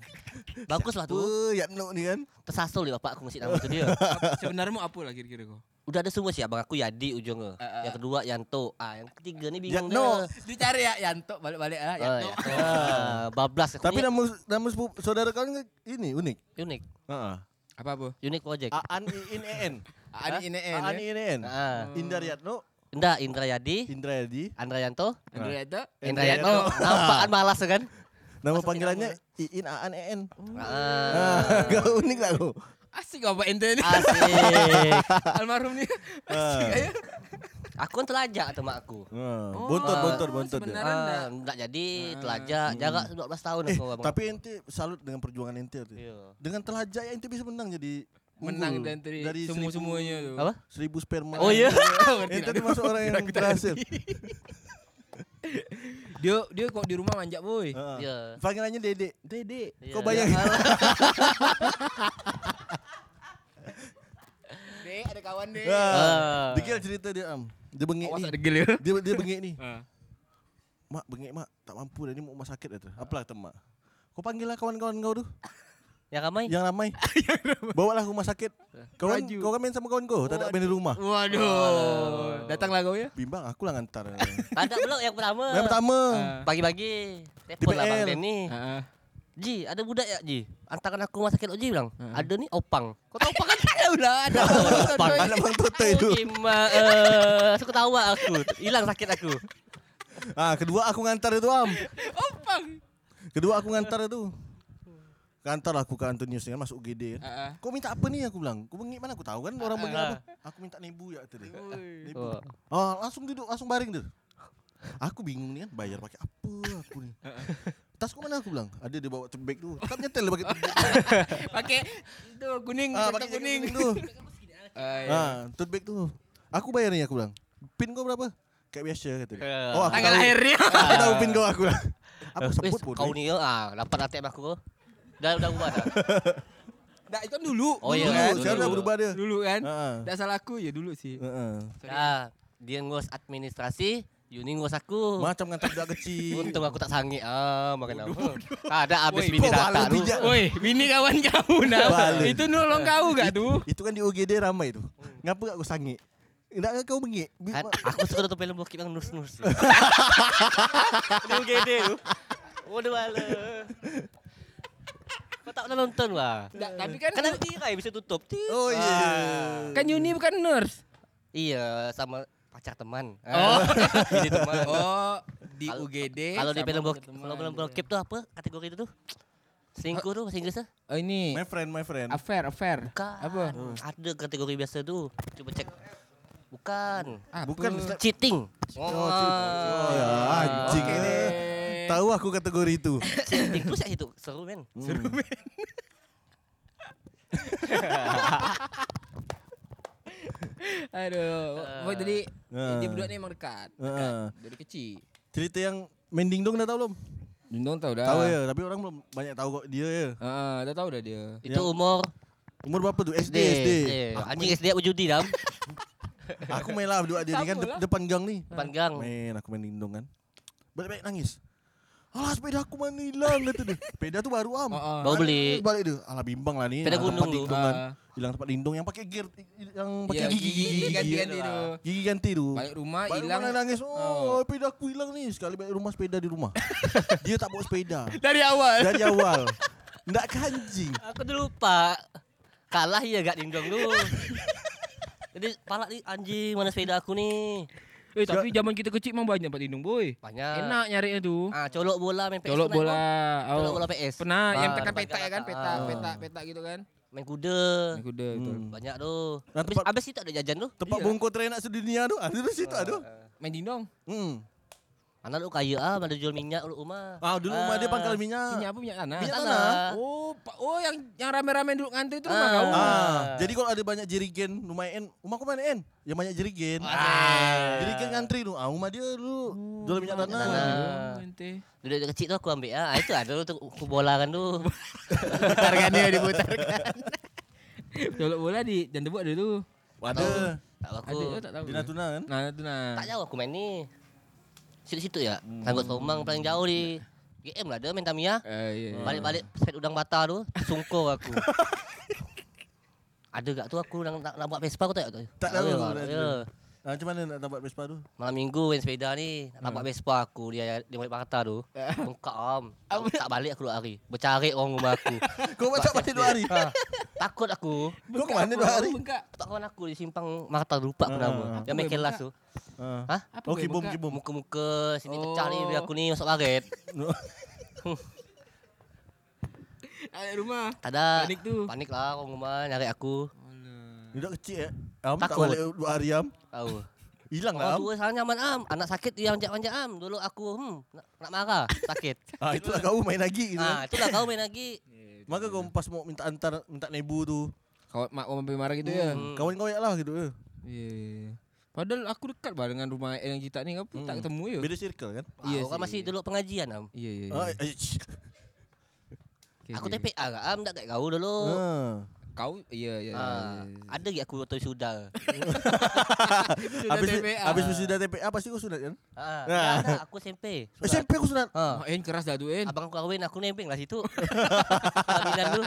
S5: Bagus lah tuh.
S3: Tuh Yatno nih kan.
S5: Tersasul ya bapak aku ngasih nama itu dia.
S4: Apa- Sebenarnya mau apa lah kira-kira kau?
S5: Udah ada semua sih abang aku Yadi ujungnya.
S4: Ah, ah.
S5: Yang kedua Yanto. Ah, yang ketiga nih bingung
S3: Yakno.
S5: dah.
S4: Dicari ya Yanto balik-balik lah
S5: Oh,
S4: Yanto.
S5: Yakno. Ah, bablas.
S3: Tapi
S5: Unik.
S3: nama nama sepupu- saudara kau ni ini unik.
S5: unik.
S3: Heeh.
S4: Apa apa?
S5: Unik project.
S3: Aan Iin En.
S4: Ani ini En.
S3: Aan
S4: ya?
S3: Iin En.
S5: Ah.
S3: Indar Yatno,
S5: Nda Indra Yadi,
S3: Indra Yadi.
S5: Andra Yanto,
S4: Andrew Yanto.
S5: Indra Yatno. Nampak kan malas tu kan?
S3: Nama panggilannya Iin Aan En.
S5: Ah.
S3: Ah, kau Oh. unik lah kau.
S4: Asik kau Pak Ente ni.
S5: Asik.
S4: Almarhum ni. Asik
S3: Ah.
S4: ayah.
S5: Aku kan telajak tu mak aku.
S3: Ah, Bontot, bontot, bontot dia. Eh,
S4: sebenarnya. Karena-
S5: Ah, tak jadi telajak jarak 12 tahun aku orang.
S3: Tapi ente salut dengan perjuangan ente tu.
S5: Ya.
S3: Dengan telajak ente bisa menang jadi unggul.
S4: Menang dan dari,
S3: uh, seribu-
S4: semua-semuanya tu.
S5: Apa?
S3: Seribu sperma.
S5: Oh ya.
S4: Ngerti
S3: Ente
S4: tak tu?
S3: termasuk orang yang
S4: Aku tak
S3: berhasil.
S4: Dia dia kok di rumah manjat boy.
S3: Ah.
S5: Ya.
S3: Panggilannya Dedek.
S4: Dedek.
S5: Ya.
S3: Kau bayangin.
S4: Dek ada kawan dek.
S5: Ah.
S3: Ah. Degil cerita dia am. Dia bengek
S4: Awas
S3: ni.
S4: ada gel ya.
S3: Dia dia bengek ni. Mak bengek mak, tak mampu dah ni mau rumah sakit dah tu. Apalah kata mak. Kau panggil lah kawan-kawan kau tu
S5: Yang ramai.
S3: yang ramai. Bawa lah ke rumah sakit. Kawan
S4: Maju.
S3: kau kan main sama kawan kau, tak ada main di rumah.
S4: Waduh. Datanglah kau ya.
S3: Bimbang aku lah ngantar.
S5: Tak ada belum yang pertama.
S3: Yang pertama.
S5: Pagi-pagi telepon lah Bang
S3: DPL.
S5: Denny.
S4: Heeh.
S5: Ji, ada budak ya Ji? Antarkan aku rumah sakit oh, Ji bilang.
S3: Ha.
S5: Ada ni opang. Kau tahu opang kan tak ada pula. Ada
S4: Ha.
S5: opang.
S3: Anak lah Bang Toto itu.
S5: Okey, mak. Eh, Aku ketawa aku. Hilang sakit aku.
S3: Ah, kedua aku ngantar itu am.
S4: Opang.
S3: Kedua aku ngantar itu. Ngantar aku ke Antonius kan masuk UGD kan.
S4: Heeh.
S3: Kau minta apa ni aku bilang? Kau bengek mana aku tahu kan orang bengek apa. Aku minta nebu ya tadi.
S4: ah.
S3: Nebu.
S5: Oh.
S3: Ah, langsung duduk, langsung baring dia. Aku bingung nih kan bayar pakai apa aku ni. Tas kau mana aku bilang? Ada dia bawa tebek tu. Tak nyetel dia pakai tebek.
S4: Pakai itu kuning,
S3: Ah,
S4: kotak
S3: pakai
S4: kuning.
S3: kuning tu.
S4: Ah, ya.
S3: Ah, tote bag tu. Aku bayar ni aku bilang. Pin kau berapa? Kayak biasa kata dia.
S5: Ya.
S3: Oh, aku
S4: Tanggal
S3: tahu.
S4: lahirnya.
S3: Aku tahu pin kau aku lah. Aku sebut
S5: Wis,
S3: bodoh.
S5: Eh, kau ni ah, dapat atik aku. Dah dah ubah dah.
S4: Dah itu kan dulu.
S5: Oh,
S4: Dulu
S5: iya,
S4: kan?
S3: Dulu, sekarang dah
S5: dulu.
S3: berubah dia. Ah, Uh-uh.
S4: Dulu kan.
S3: Heeh.
S4: Tak salah aku ya dulu sih.
S3: Heeh.
S5: Ah, dia ngurus administrasi, you ni ngurus aku.
S3: Macam ngantar budak kecil.
S5: Untung aku tak sangit. Ah, makan apa. Ada habis
S4: Woi,
S5: bini
S3: kau
S5: datang
S3: malah
S5: tu.
S3: bijak.
S4: Woi, bini kawan kau nah.
S3: Balik.
S4: Itu nolong kau gak tuh?
S3: Itu kan di UGD ramai tu. Ngapa aku sangit? Nak kau bengek? Bi-
S5: Kan, aku suka nonton film bokep yang nurus-nurus. Di UGD tu. Waduh ala. Oh, Kau tak pernah nonton lah.
S4: Nggak, tapi kan
S5: Kan ada tirai bisa tutup. Ti-
S3: Oh iya.
S5: Ah.
S4: kan Yuni bukan nurse.
S5: Iya, sama pacar teman. Oh, bini teman.
S4: Ah. Oh, di
S5: Kalau-
S4: UGD.
S5: Kalau di
S4: sama
S5: film bokep,
S4: teman.
S5: kalau film bokep tu apa kategori itu tuh? Selingkuh tu bahasa Inggris tu?
S4: Oh, ini
S3: My friend, my friend.
S4: affair, affair.
S5: Bukan.
S4: Apa?
S5: Ada kategori biasa tu. Coba cek. Bukan.
S4: Ah, Apa?
S3: Bukan
S5: Cheating.
S3: Oh, ya, anjing
S4: Oke
S3: ini.
S4: deh.
S3: Tahu aku kategori itu.
S5: Cheating terus ya itu. Seru men.
S3: Seru
S4: Aduh. Woi, jadi
S3: Ah.
S4: dia berdua nih emang dekat.
S3: Heeh.
S4: Dari kecil.
S3: Cerita yang main dingdong dah tahu belum?
S4: Dindong tahu dah.
S3: Tahu ya, tapi orang belum banyak tahu kok dia ya.
S4: Heeh, dah tahu dah dia.
S5: Itu
S3: Yang-
S5: umur
S3: Umur berapa tuh? SD,
S5: SD.
S3: SD.
S5: Aku Anjing SD aku judi dam.
S3: Aku main lah berdua dia ni kan
S4: Sama lah.
S3: de- depan gang ni.
S5: Depan gang.
S3: Main aku main dingdong kan. Balik-balik nangis. Alah sepeda aku mana hilang kata dia. Sepeda tu baru am. Kan
S4: Heeh.
S5: Baru beli.
S3: Balik dia. Alah bimbang lah ni. Alah,
S5: Sepeda gunung
S3: tempat
S5: tu.
S3: dingdong kan.
S4: Ah. Ya,
S3: Hilang tempat dingdong yang pakai gear yang pakai
S4: Iya,
S3: gigi gigi gigi
S4: ganti
S3: gigi,
S4: ganti
S3: tu.
S4: tuh.
S3: Gigi ganti tu.
S4: Balik rumah
S3: Balik
S4: hilang.
S3: rumah nangis.
S4: Oh.
S3: Oh, sepeda aku hilang ni. Sekali balik rumah sepeda di rumah. dia tak bawa sepeda.
S4: Dari awal.
S3: Dari awal. Ndak kanjing.
S5: Aku dulu lupa. Kalah ya gak dindong dulu. Jadi palak nih anjing mana sepeda aku nih.
S4: Eh, tapi zaman kita kecil emang banyak Pak Dindong, boy.
S5: Banyak.
S4: Enak nyarinya tuh.
S5: Ah, colok bola main PS.
S4: Colok
S5: pernah
S4: bola.
S5: kau? Colok
S4: Oh.
S5: bola PS.
S4: Pernah yang
S5: Ah,
S4: tekan
S5: depan
S4: peta ya
S5: jalan.
S4: kan, peta,
S5: Ah.
S4: peta, peta gitu kan.
S5: Main kuda.
S4: Naik kuda betul.
S3: Hmm.
S5: Banyak tuh.
S3: Nah,
S5: Habis,
S3: tempat-
S5: habis itu ada jajan tuh.
S3: Tempat
S4: Iya.
S3: Ah. bongko terenak sedunia tu. Ada di situ aduh.
S4: Main dindong.
S3: Hmm.
S5: Anak lu kaya ah, mana jual minyak lu rumah.
S3: Ah dulu rumah dia pangkal minyak.
S4: Minyak apa minyak tanah?
S3: Minyak
S5: Ah. tanah.
S4: Oh, pa- oh yang yang rame-rame dulu ngantri itu rumah
S5: Ah.
S4: kamu.
S3: Ah, jadi kalau ada banyak jerigen rumah En, rumah kau mana En? Yang banyak jerigen. Ah. Jerigen ngantri tu. Ah, rumah dia dulu jual minyak tanah.
S5: tanah.
S4: Nanti.
S5: Duduk dari kecil tu aku ambil ah. Itu ada lu tu aku bola kan tu.
S4: Putarkan dia diputarkan. Tolok bola di dan debu ada tu.
S3: Ada
S5: Tak tahu aku.
S4: Ada oh, tak tahu.
S3: di Natuna kan?
S4: Nah, itu nah.
S5: Tak jauh aku main ni. Situ-situ ya. Tanggut Somang paling jauh di GM lah ada main Tamiya.
S4: Hmm. Eh, iya, iya.
S5: Balik-balik set udang mata tu, sungkur aku. ada gak tu aku nak, nak, nak buat Vespa aku tak tahu.
S3: Tak tahu,
S5: Ya,
S3: tak
S5: ya.
S3: tahu. Ah, macam mana nak dapat Vespa tu?
S5: Malam minggu main sepeda ni, nak buat Vespa aku dia di Murid Pakata tu. Bengkak am. Aku tak balik aku dua hari. Bercari orang rumah aku.
S3: Kau macam balik dua hari.
S5: Ha, takut aku.
S3: Kau ke mana dua hari?
S4: Bengkak.
S5: Tak kawan aku di simpang Marta lupa aku
S3: Ah.
S5: nama. Yang
S4: Apa
S5: main
S4: yang
S5: kelas
S4: buka?
S5: tu.
S3: Ah.
S5: Hah?
S4: Apa
S3: Oh,
S4: kau yang
S3: kibum
S4: bengkak?
S3: kibum.
S5: Muka-muka sini pecah ni dia
S4: Oh.
S5: aku ni masuk karet.
S4: Ada rumah.
S5: Tak ada.
S4: Panik tu.
S5: Panik lah orang rumah nyari aku.
S3: Budak kecil eh. Am tak
S5: Takut.
S3: balik dua hari am.
S5: Tahu.
S3: Hilang
S5: Orang
S3: lah am.
S5: tua salah nyaman am. Anak sakit dia manjak-manjak am. Dulu aku hmm nak, nak marah sakit.
S3: Ah, itulah kau main lagi gitu.
S5: ah, itulah kau main lagi.
S3: Maka kau pas mau minta antar minta nebu tu.
S4: Kau mak kau sampai marah gitu ya.
S5: Hmm.
S3: Kawan kau lah gitu. ya.
S4: Iya. iya. Padahal aku dekat bah dengan rumah yang kita ni aku tak ketemu ya.
S3: Beda circle kan?
S5: Hmm. Ah,
S4: Iya
S5: orang
S4: sih.
S5: masih dulu pengajian am.
S4: Iya iya. iya.
S3: Ah, eh, shh.
S4: Okey,
S5: Aku
S4: okey.
S5: TPA gak am tak kayak kau dulu.
S3: Ah.
S4: Kau iya iya. iya,
S5: Ah,
S4: iya.
S5: ada gak aku waktu sudah.
S4: Sudah
S3: Habis
S4: TPA.
S3: habis sudah TPA pasti kau sunat kan?
S5: Ah,
S3: Ah.
S5: tak ada, aku SMP. Sudah.
S3: SMP aku sunat.
S5: Ah.
S4: Oh, En keras dah tu En.
S5: Abang aku kahwin aku nempeng lah situ. pelaminan dulu.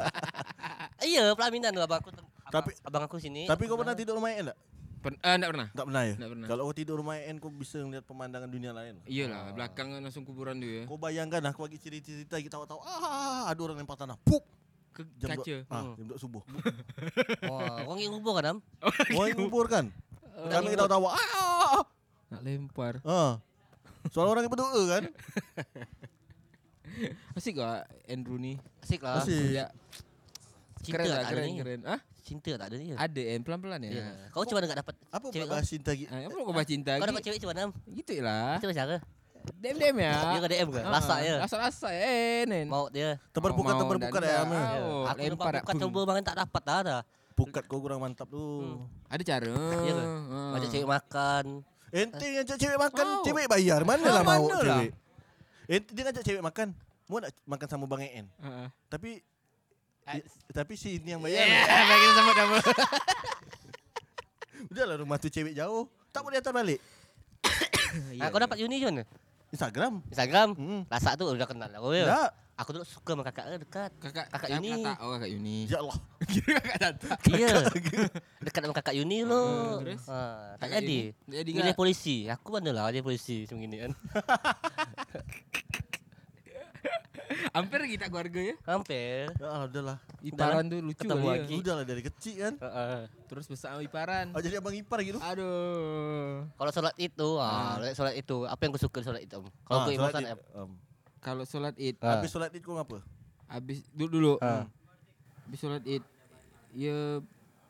S5: Iya, pelaminan dulu abang aku. tem- abang-
S3: Tapi-
S5: abang aku sini.
S3: Tapi kau pernah tidur rumah En tak?
S4: Pen- eh, tak pernah.
S3: Tak pernah ya?
S4: Tak pernah.
S3: Kalau kau tidur rumah En kau bisa melihat pemandangan dunia lain.
S4: Iyalah,
S5: Ah.
S4: belakang kan langsung kuburan tu ya.
S3: Kau bayangkan aku bagi cerita-cerita kita tahu-tahu ah ada orang lempar tanah. Pup.
S4: Ke
S3: Jam dua-
S4: kaca.
S3: Ah,
S5: Hmm.
S3: jam 2 subuh.
S5: Wah, orang yang kubur kan am.
S3: Orang yang kubur kan? Kami kita tahu ah. ah, ah.
S4: Nak lempar.
S3: Ah. Soal orang yang berdoa kan?
S4: Asik gak Andrew ni?
S5: Asik lah.
S3: Asik.
S4: Ya.
S5: Cinta
S4: Keren
S5: tak
S4: lah,
S5: ada
S4: keren,
S5: ni.
S4: keren. Ah,
S5: Cinta tak ada dia.
S4: ada en pelan-pelan ya.
S5: Ya. Kau cuma enggak dapat
S3: Apa
S5: cewek
S3: pula
S5: kau?
S3: bahas cinta gitu?
S4: Ah, apa kau baca cinta
S5: Kau dapat
S4: lagi?
S5: cewek cuma enam.
S4: Gitu lah.
S5: Itu cara.
S4: DM DM ya.
S5: Dia ke DM ke?
S4: Ah,
S5: Lasak ya.
S4: Lasak-lasak en en.
S5: Mau dia.
S3: Terperpukat
S4: Mau- mau,
S3: terperpukat
S4: tak
S3: ya.
S4: nak.
S3: Amir.
S4: Ah. Oh,
S5: Aku
S4: lempar
S5: nampak
S4: tak
S5: bukan
S4: pun.
S5: coba makan tak dapat lah, dah ada.
S3: Pukat kau kurang mantap tu.
S4: Ada cara.
S5: Iya ke?
S4: Ah.
S5: Macam cewek makan.
S3: Ente ngajak cewek makan,
S4: Mau.
S3: cewek bayar. Mana
S4: Ah,
S3: lah mau
S4: mana lah.
S3: cewek. Ente dia ngajak cewek makan. Mau nak makan sama Bang En.
S4: Ah, ah.
S3: Tapi i- tapi si ini yang
S4: Eh.
S3: bayar.
S4: Bagi sama kamu.
S3: Udahlah rumah tu cewek jauh. Tak boleh hantar balik.
S5: Ah, kau dapat uni macam mana?
S3: Instagram.
S5: Instagram.
S3: Hmm.
S5: Lasak tu udah kenal lah. kau, ya.
S3: Tak.
S5: Aku dulu suka sama kakak dia dekat.
S4: Kakak
S5: Kakak
S4: kakak
S5: Yuni.
S4: Tata. Oh kakak Yuni.
S3: Ya Allah.
S4: Kira kakak Tata.
S5: Iya. Dekat sama kakak Yuni lo.
S4: terus?
S5: Ha,
S4: Kakak
S5: tak jadi.
S4: Yuni. Jadi
S5: Milih
S4: enggak?
S5: polisi. Aku mana lah dia polisi macam gini kan.
S4: Hampir kita keluarga ya.
S5: Hampir.
S3: Ya Allah, udahlah.
S4: Iparan tu lucu
S5: Ketemu
S4: kali
S5: lagi.
S4: ya.
S3: Udahlah dari kecil kan.
S5: Heeh.
S4: Terus besar sama Iparan.
S3: Oh, jadi abang ipar gitu.
S4: Aduh.
S5: Kalau solat itu, ah, solat itu, apa yang kau suka di solat itu? Om? Kalau
S3: Ah,
S5: kau
S3: solat
S5: emosan,
S3: id.
S5: apa?
S3: Um,
S4: Kalau solat Id,
S5: Ah.
S3: Habis solat id kau ngapa?
S4: habis dulu dulu.
S3: Ah.
S4: Habis solat Id. Ya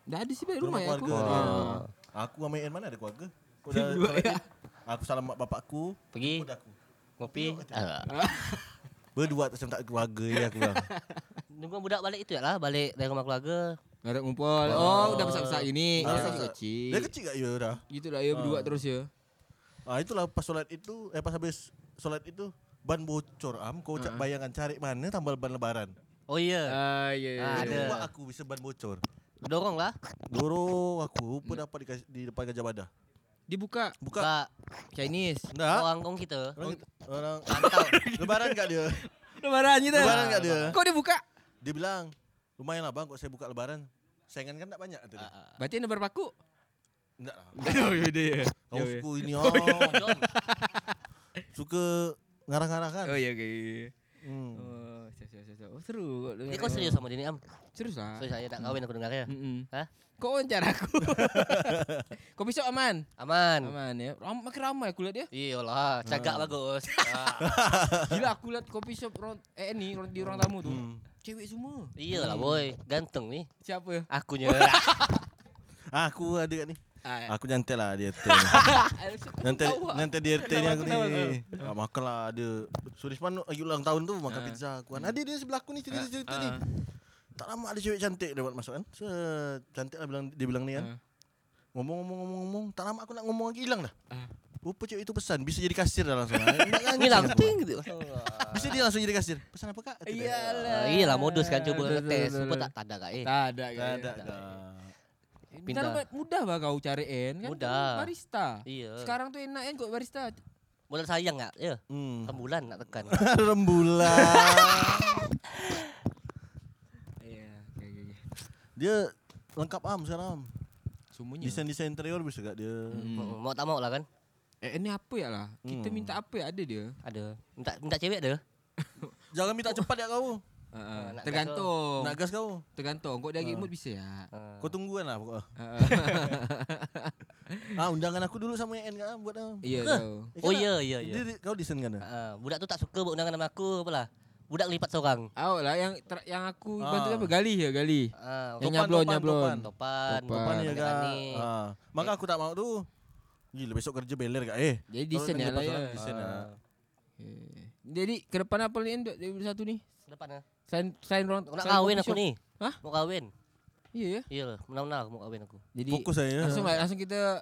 S4: dah ada sih balik rumah,
S3: Rumah
S4: ya aku.
S3: keluarga.
S4: Ah.
S3: Ah. Aku sama En mana ada keluarga? Kau
S4: Dua,
S3: dah solat
S4: ya.
S3: id. Aku salam mak bapakku.
S5: Pergi.
S3: Kau dah aku.
S5: Ngopi. Ah.
S3: Berdua tak tak keluarga ya aku bang.
S5: Nunggu budak balik itu ya lah, balik dari rumah keluarga.
S4: Ngarak ngumpul. Oh, udah besar-besar gini. Udah
S3: Ah,
S4: masih
S3: Dia
S4: kecil.
S3: kecil gak ya dah.
S4: Gitu lah ya berdua terus ya.
S3: Ah itulah pas solat itu eh pas habis solat itu ban bocor am kau cak bayangan cari mana tambal ban lebaran.
S5: Oh iya,
S4: Ah, iya. iya,
S5: Ah,
S4: iya.
S5: ada.
S3: Dua aku bisa ban bocor.
S5: dorong lah.
S3: Dorong aku rupa dapat di, di depan Gajah Mada.
S4: Dibuka
S3: Buka.
S5: Buka
S4: Chinese.
S3: Enggak.
S5: orang orang kita.
S3: Orang, orang
S5: Rantau.
S3: lebaran gak dia?
S4: Lebaran gitu.
S3: Lebaran gak dia?
S4: Ah. Kok dibuka?
S3: Dia bilang, lumayan lah bang kok saya buka lebaran. Saingan kan tak banyak tadi.
S4: Berarti ada berpaku?
S3: Enggak lah.
S4: Aduh, ya dia.
S3: Kau suka ini oh.
S5: Jom.
S3: Suka ngarang-ngarang kan.
S4: Oh, iya, iya, iya.
S3: Hmm.
S4: Oh, siap, siap, siap, siap. Oh, seru. kok
S5: Ini
S4: dengar-
S5: kau serius sama dia ni am?
S4: Serius lah.
S5: Serius saya tak kahwin aku dengar ya.
S4: Mm-mm.
S5: Hah?
S4: Kok wawancara aku? Kau besok aman?
S5: Aman.
S4: Aman ya. Ram, makin ramai aku lihat ya.
S5: Iyalah, cagak bagus. Ah.
S4: Gila aku lihat kopi shop ron, eh ni ron, di orang tamu tuh. Cewek semua.
S5: Iyalah boy, ganteng ni
S4: Siapa?
S5: akunya.
S3: Ah, aku ada kat ni.
S4: ya. Eh.
S3: Aku nyantai lah dia tu.
S4: Ah,
S3: nanti
S4: lah.
S3: nanti dia RT ni aku ni. Tak makan lah dia. Surisman lagi ulang tahun tu makan pizza aku kan. Ada dia sebelah aku ni cerita-cerita ni. Tak lama ada cewek cantik dia buat masuk kan. So, cantik lah bilang, dia bilang ni kan. Ngomong ngomong ngomong ngomong. Tak lama aku nak ngomong lagi hilang dah. Rupa cewek itu pesan bisa jadi kasir dah langsung. Ah,
S5: Ngilang ting gitu.
S3: Bisa dia langsung jadi kasir. Pesan apa kak? Tidak.
S5: Ah, Iyalah modus kan coba
S4: Betul, betul,
S5: tes.
S4: betul,
S5: Rupa
S4: betul.
S5: tak tak ada kak eh.
S4: Tak ada
S3: Tak
S4: kan.
S3: ada. dah.
S5: Pindah.
S4: Pindah. mudah bah kau cari en kan.
S5: Mudah.
S4: kamu Barista.
S5: Iya.
S4: Sekarang tuh enak kan kok barista.
S5: Modal sayang kak. Ya.
S3: Hmm.
S5: Rembulan nak tekan.
S3: Rembulan.
S4: Iya. Kayak gini.
S3: Dia lengkap am sekarang. Am.
S4: Semuanya.
S3: Desain-desain interior bisa gak dia?
S5: Hmm, Mau tak mau lah kan.
S4: Eh, ini apa ya lah?
S3: Hmm.
S4: Kita minta apa ya ada dia?
S5: Ada. Minta minta cewek ada.
S3: Jangan minta cepat ya kau.
S4: Ah, ah.
S5: nak Ah.
S4: tergantung.
S3: Nak gas kau.
S4: Tergantung. Kok dia lagi mood bisa ya?
S3: Kau tungguan lah pokoknya.
S4: Ah, ah.
S3: Ah undangan aku dulu sama Yan kan buat am.
S4: Iya Ya, tahu.
S3: Eh,
S5: Oh
S3: kan,
S5: iya
S4: ya,
S5: iya
S3: Am?
S5: iya.
S3: Dia, dia- kau desain kan? Am?
S5: Ah, budak tu tak suka buat undangan nama aku apalah. Budak lipat seorang.
S4: Awak lah yang ter- yang aku bantu
S3: Ah.
S4: apa gali ya gali.
S5: Ah,
S4: Yang
S3: Topan,
S4: nyablon
S3: topan,
S4: nyablon.
S3: topan.
S5: topan,
S4: Topan
S3: Depan
S5: topan
S3: ya
S5: dengan
S3: kak.
S5: ni.
S3: Ah. Maka aku tak mau tu. Gila besok kerja beler kak eh.
S4: Jadi
S3: Kau
S4: desain
S3: kan
S4: ya lah
S3: lepas
S4: ya.
S3: orang Desain lah.
S4: Eh, Jadi ke depan apa ni Dok, 2021 ni?
S5: Depan ah.
S4: Selain selain orang
S5: Nak
S4: selain
S5: kahwin
S4: coffee
S5: aku
S4: shop.
S5: ni.
S4: Hah?
S5: Mau kahwin.
S4: Iya ya.
S5: Iya, menang-menang aku mau kahwin aku.
S4: Jadi
S3: Fokus saya.
S4: langsung lah langsung kita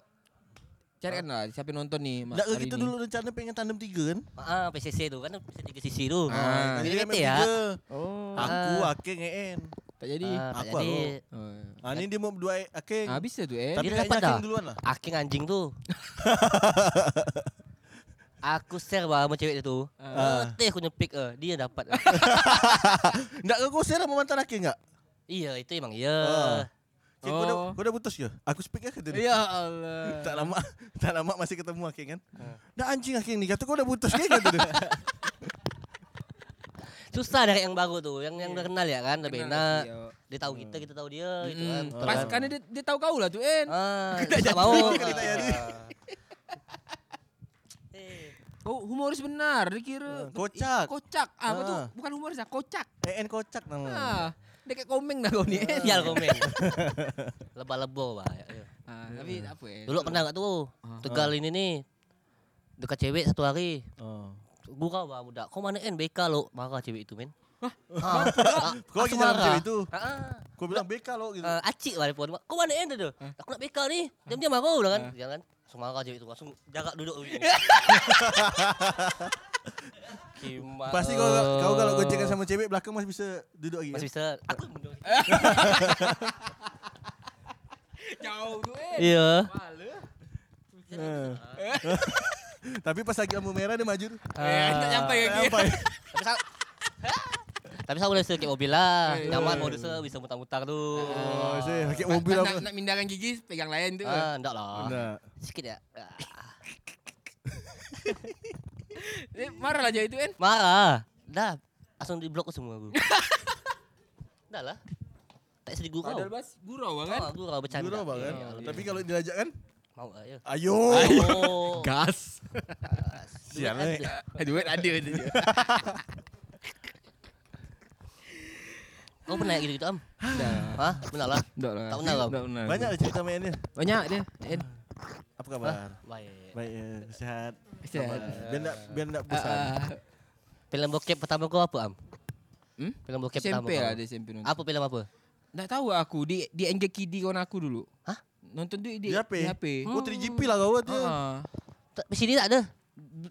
S4: carikan lah siapa yang nonton ni. ma-
S3: Nak
S4: hari
S3: kita
S4: ni.
S3: dulu rencana pengen tandem tiga kan?
S5: Ah, PCC tu kan PCC tiga sisi tu.
S4: Ah.
S5: Jadi
S3: kan
S5: kata
S3: main
S5: ya.
S3: tiga.
S4: Oh,
S3: Aku, Akeng, Yan.
S4: tak jadi.
S5: Ah, tak
S3: Aku,
S5: jadi
S4: Oh.
S3: Ah ni dia mau berdua Akeng.
S4: Ah, bisa tu eh.
S3: Tapi kayaknya
S5: Dia dapat
S3: Akeng
S5: dah.
S3: duluan lah.
S5: aking anjing tu. aku share bah sama cewek dia tu.
S3: Ah.
S5: Letih aku nyepik eh. Dia dapat. eh.
S3: Nak kau share lah sama mantan Akeng enggak?
S5: iya, itu emang ya.
S3: Ah. Okay, kau, dah,
S4: Oh.
S3: kau dah putus ke? Aku speak lah kata dia.
S4: Ya Allah.
S3: Tak lama tak lama masih ketemu Aking kan. Dah anjing Aking ni kata kau dah putus ke kata dia.
S5: Susah dari yang baru tu. Yang yang dah kenal ya kan, lebih
S4: Kenal
S5: enak.
S4: lagi, awak.
S5: Dia tahu kita, kita tahu dia gitu kan.
S4: Hmm,
S5: Betul
S4: pas
S5: kan?
S4: karena dia, dia tahu kau lah tu eh. En.
S5: Ah,
S3: Kita
S5: tak
S3: jadi,
S5: mau.
S3: kita tak jadi.
S5: Ah. Eh,
S4: Oh, humoris benar. Dia kira
S3: Ah, kocak.
S4: Ih, Kocak. Ah, apa tu?
S3: Ah.
S4: Bukan humoris lah, kocak.
S3: EN kocak nama.
S4: Ah, dekat komeng dah kau ni.
S3: Ah.
S4: En.
S5: Sial Eh, komen. Lebah-lebah bah. Ya, ya.
S4: Ah, tapi tak apa eh.
S5: Dulu pernah kat tu. Tegal ini ni. Dekat cewek satu hari.
S3: Oh.
S5: Gurau bah budak. Kau mana en BK lo? Marah cewek itu men. Ah. Hah?
S3: Kau lagi sama cewek itu.
S5: Ha ah.
S3: Kau bilang BK lo gitu.
S5: Uh, acik lah telefon. Kau mana en tu? Aku nak BK ni. Diam-diam marah dah kan. Dia kan. Langsung marah cewek tu. Langsung jarak duduk tu. Kimak.
S3: Pasti kau kau kalau gocekan sama cewek belakang masih bisa duduk lagi. kan?
S5: Masih
S3: Masih.
S5: bisa. Aku mundur.
S4: Jauh tu eh. En.
S5: Iya.
S4: Malu.
S3: Ha. Tapi pas lagi lampu merah dia maju. tu.
S4: Eh,
S5: Ah.
S3: Ah.
S4: tak sampai
S3: Tak
S4: lagi.
S3: Apa?
S5: Tapi saya boleh ke mobil lah.
S4: Eh.
S5: Nyaman modus saya bisa mutar-mutar tu.
S3: Oh, saya pakai
S4: Nak,
S3: mobil
S4: nak-
S3: apa?
S4: nak, nak mindahkan gigi pegang lain tu.
S5: Ah, enggak lah.
S3: Nak.
S5: Sikit ya. Ah.
S4: Eh, marah lah je itu En.
S5: Marah. Dah. Langsung di blok semua aku. Dah lah. Tak sedih gurau.
S4: Padahal bas gurau lah kan.
S5: Oh, gurau bercanda.
S3: Gurau bang kan.
S5: Ya Allah.
S3: Tapi kalau diajak kan,
S5: Mau lah ya.
S3: ayo.
S5: Oh.
S4: Gas.
S3: Sial eh.
S4: Duit ada tu je.
S5: Kau pernah gitu-gitu am?
S4: Dah.
S5: Hah? Pernah lah.
S4: Tak lah.
S5: Tak benar kau?
S4: Tak benar.
S3: Banyak ada cerita mainnya.
S4: Banyak dia. Eh, En.
S3: Apa kabar?
S5: Baik.
S3: Baik, eh, sihat.
S4: Sihat.
S3: Kabar. Biar nak biar
S4: Ah,
S3: nak bosan.
S4: ah.
S5: Film bokep pertama kau apa am?
S4: Hmm?
S5: Film bokep pertama
S4: SMP
S5: kau.
S4: lah dia SMP nonton.
S5: Apa film apa?
S4: Tak tahu lah aku di di engage kidi kawan aku dulu.
S5: Hah?
S4: Nonton tu di,
S3: Di HP.
S4: Di HP.
S5: Hmm.
S3: Oh 3GP lah kau tu.
S4: Ah.
S5: Tak, di sini tak ada.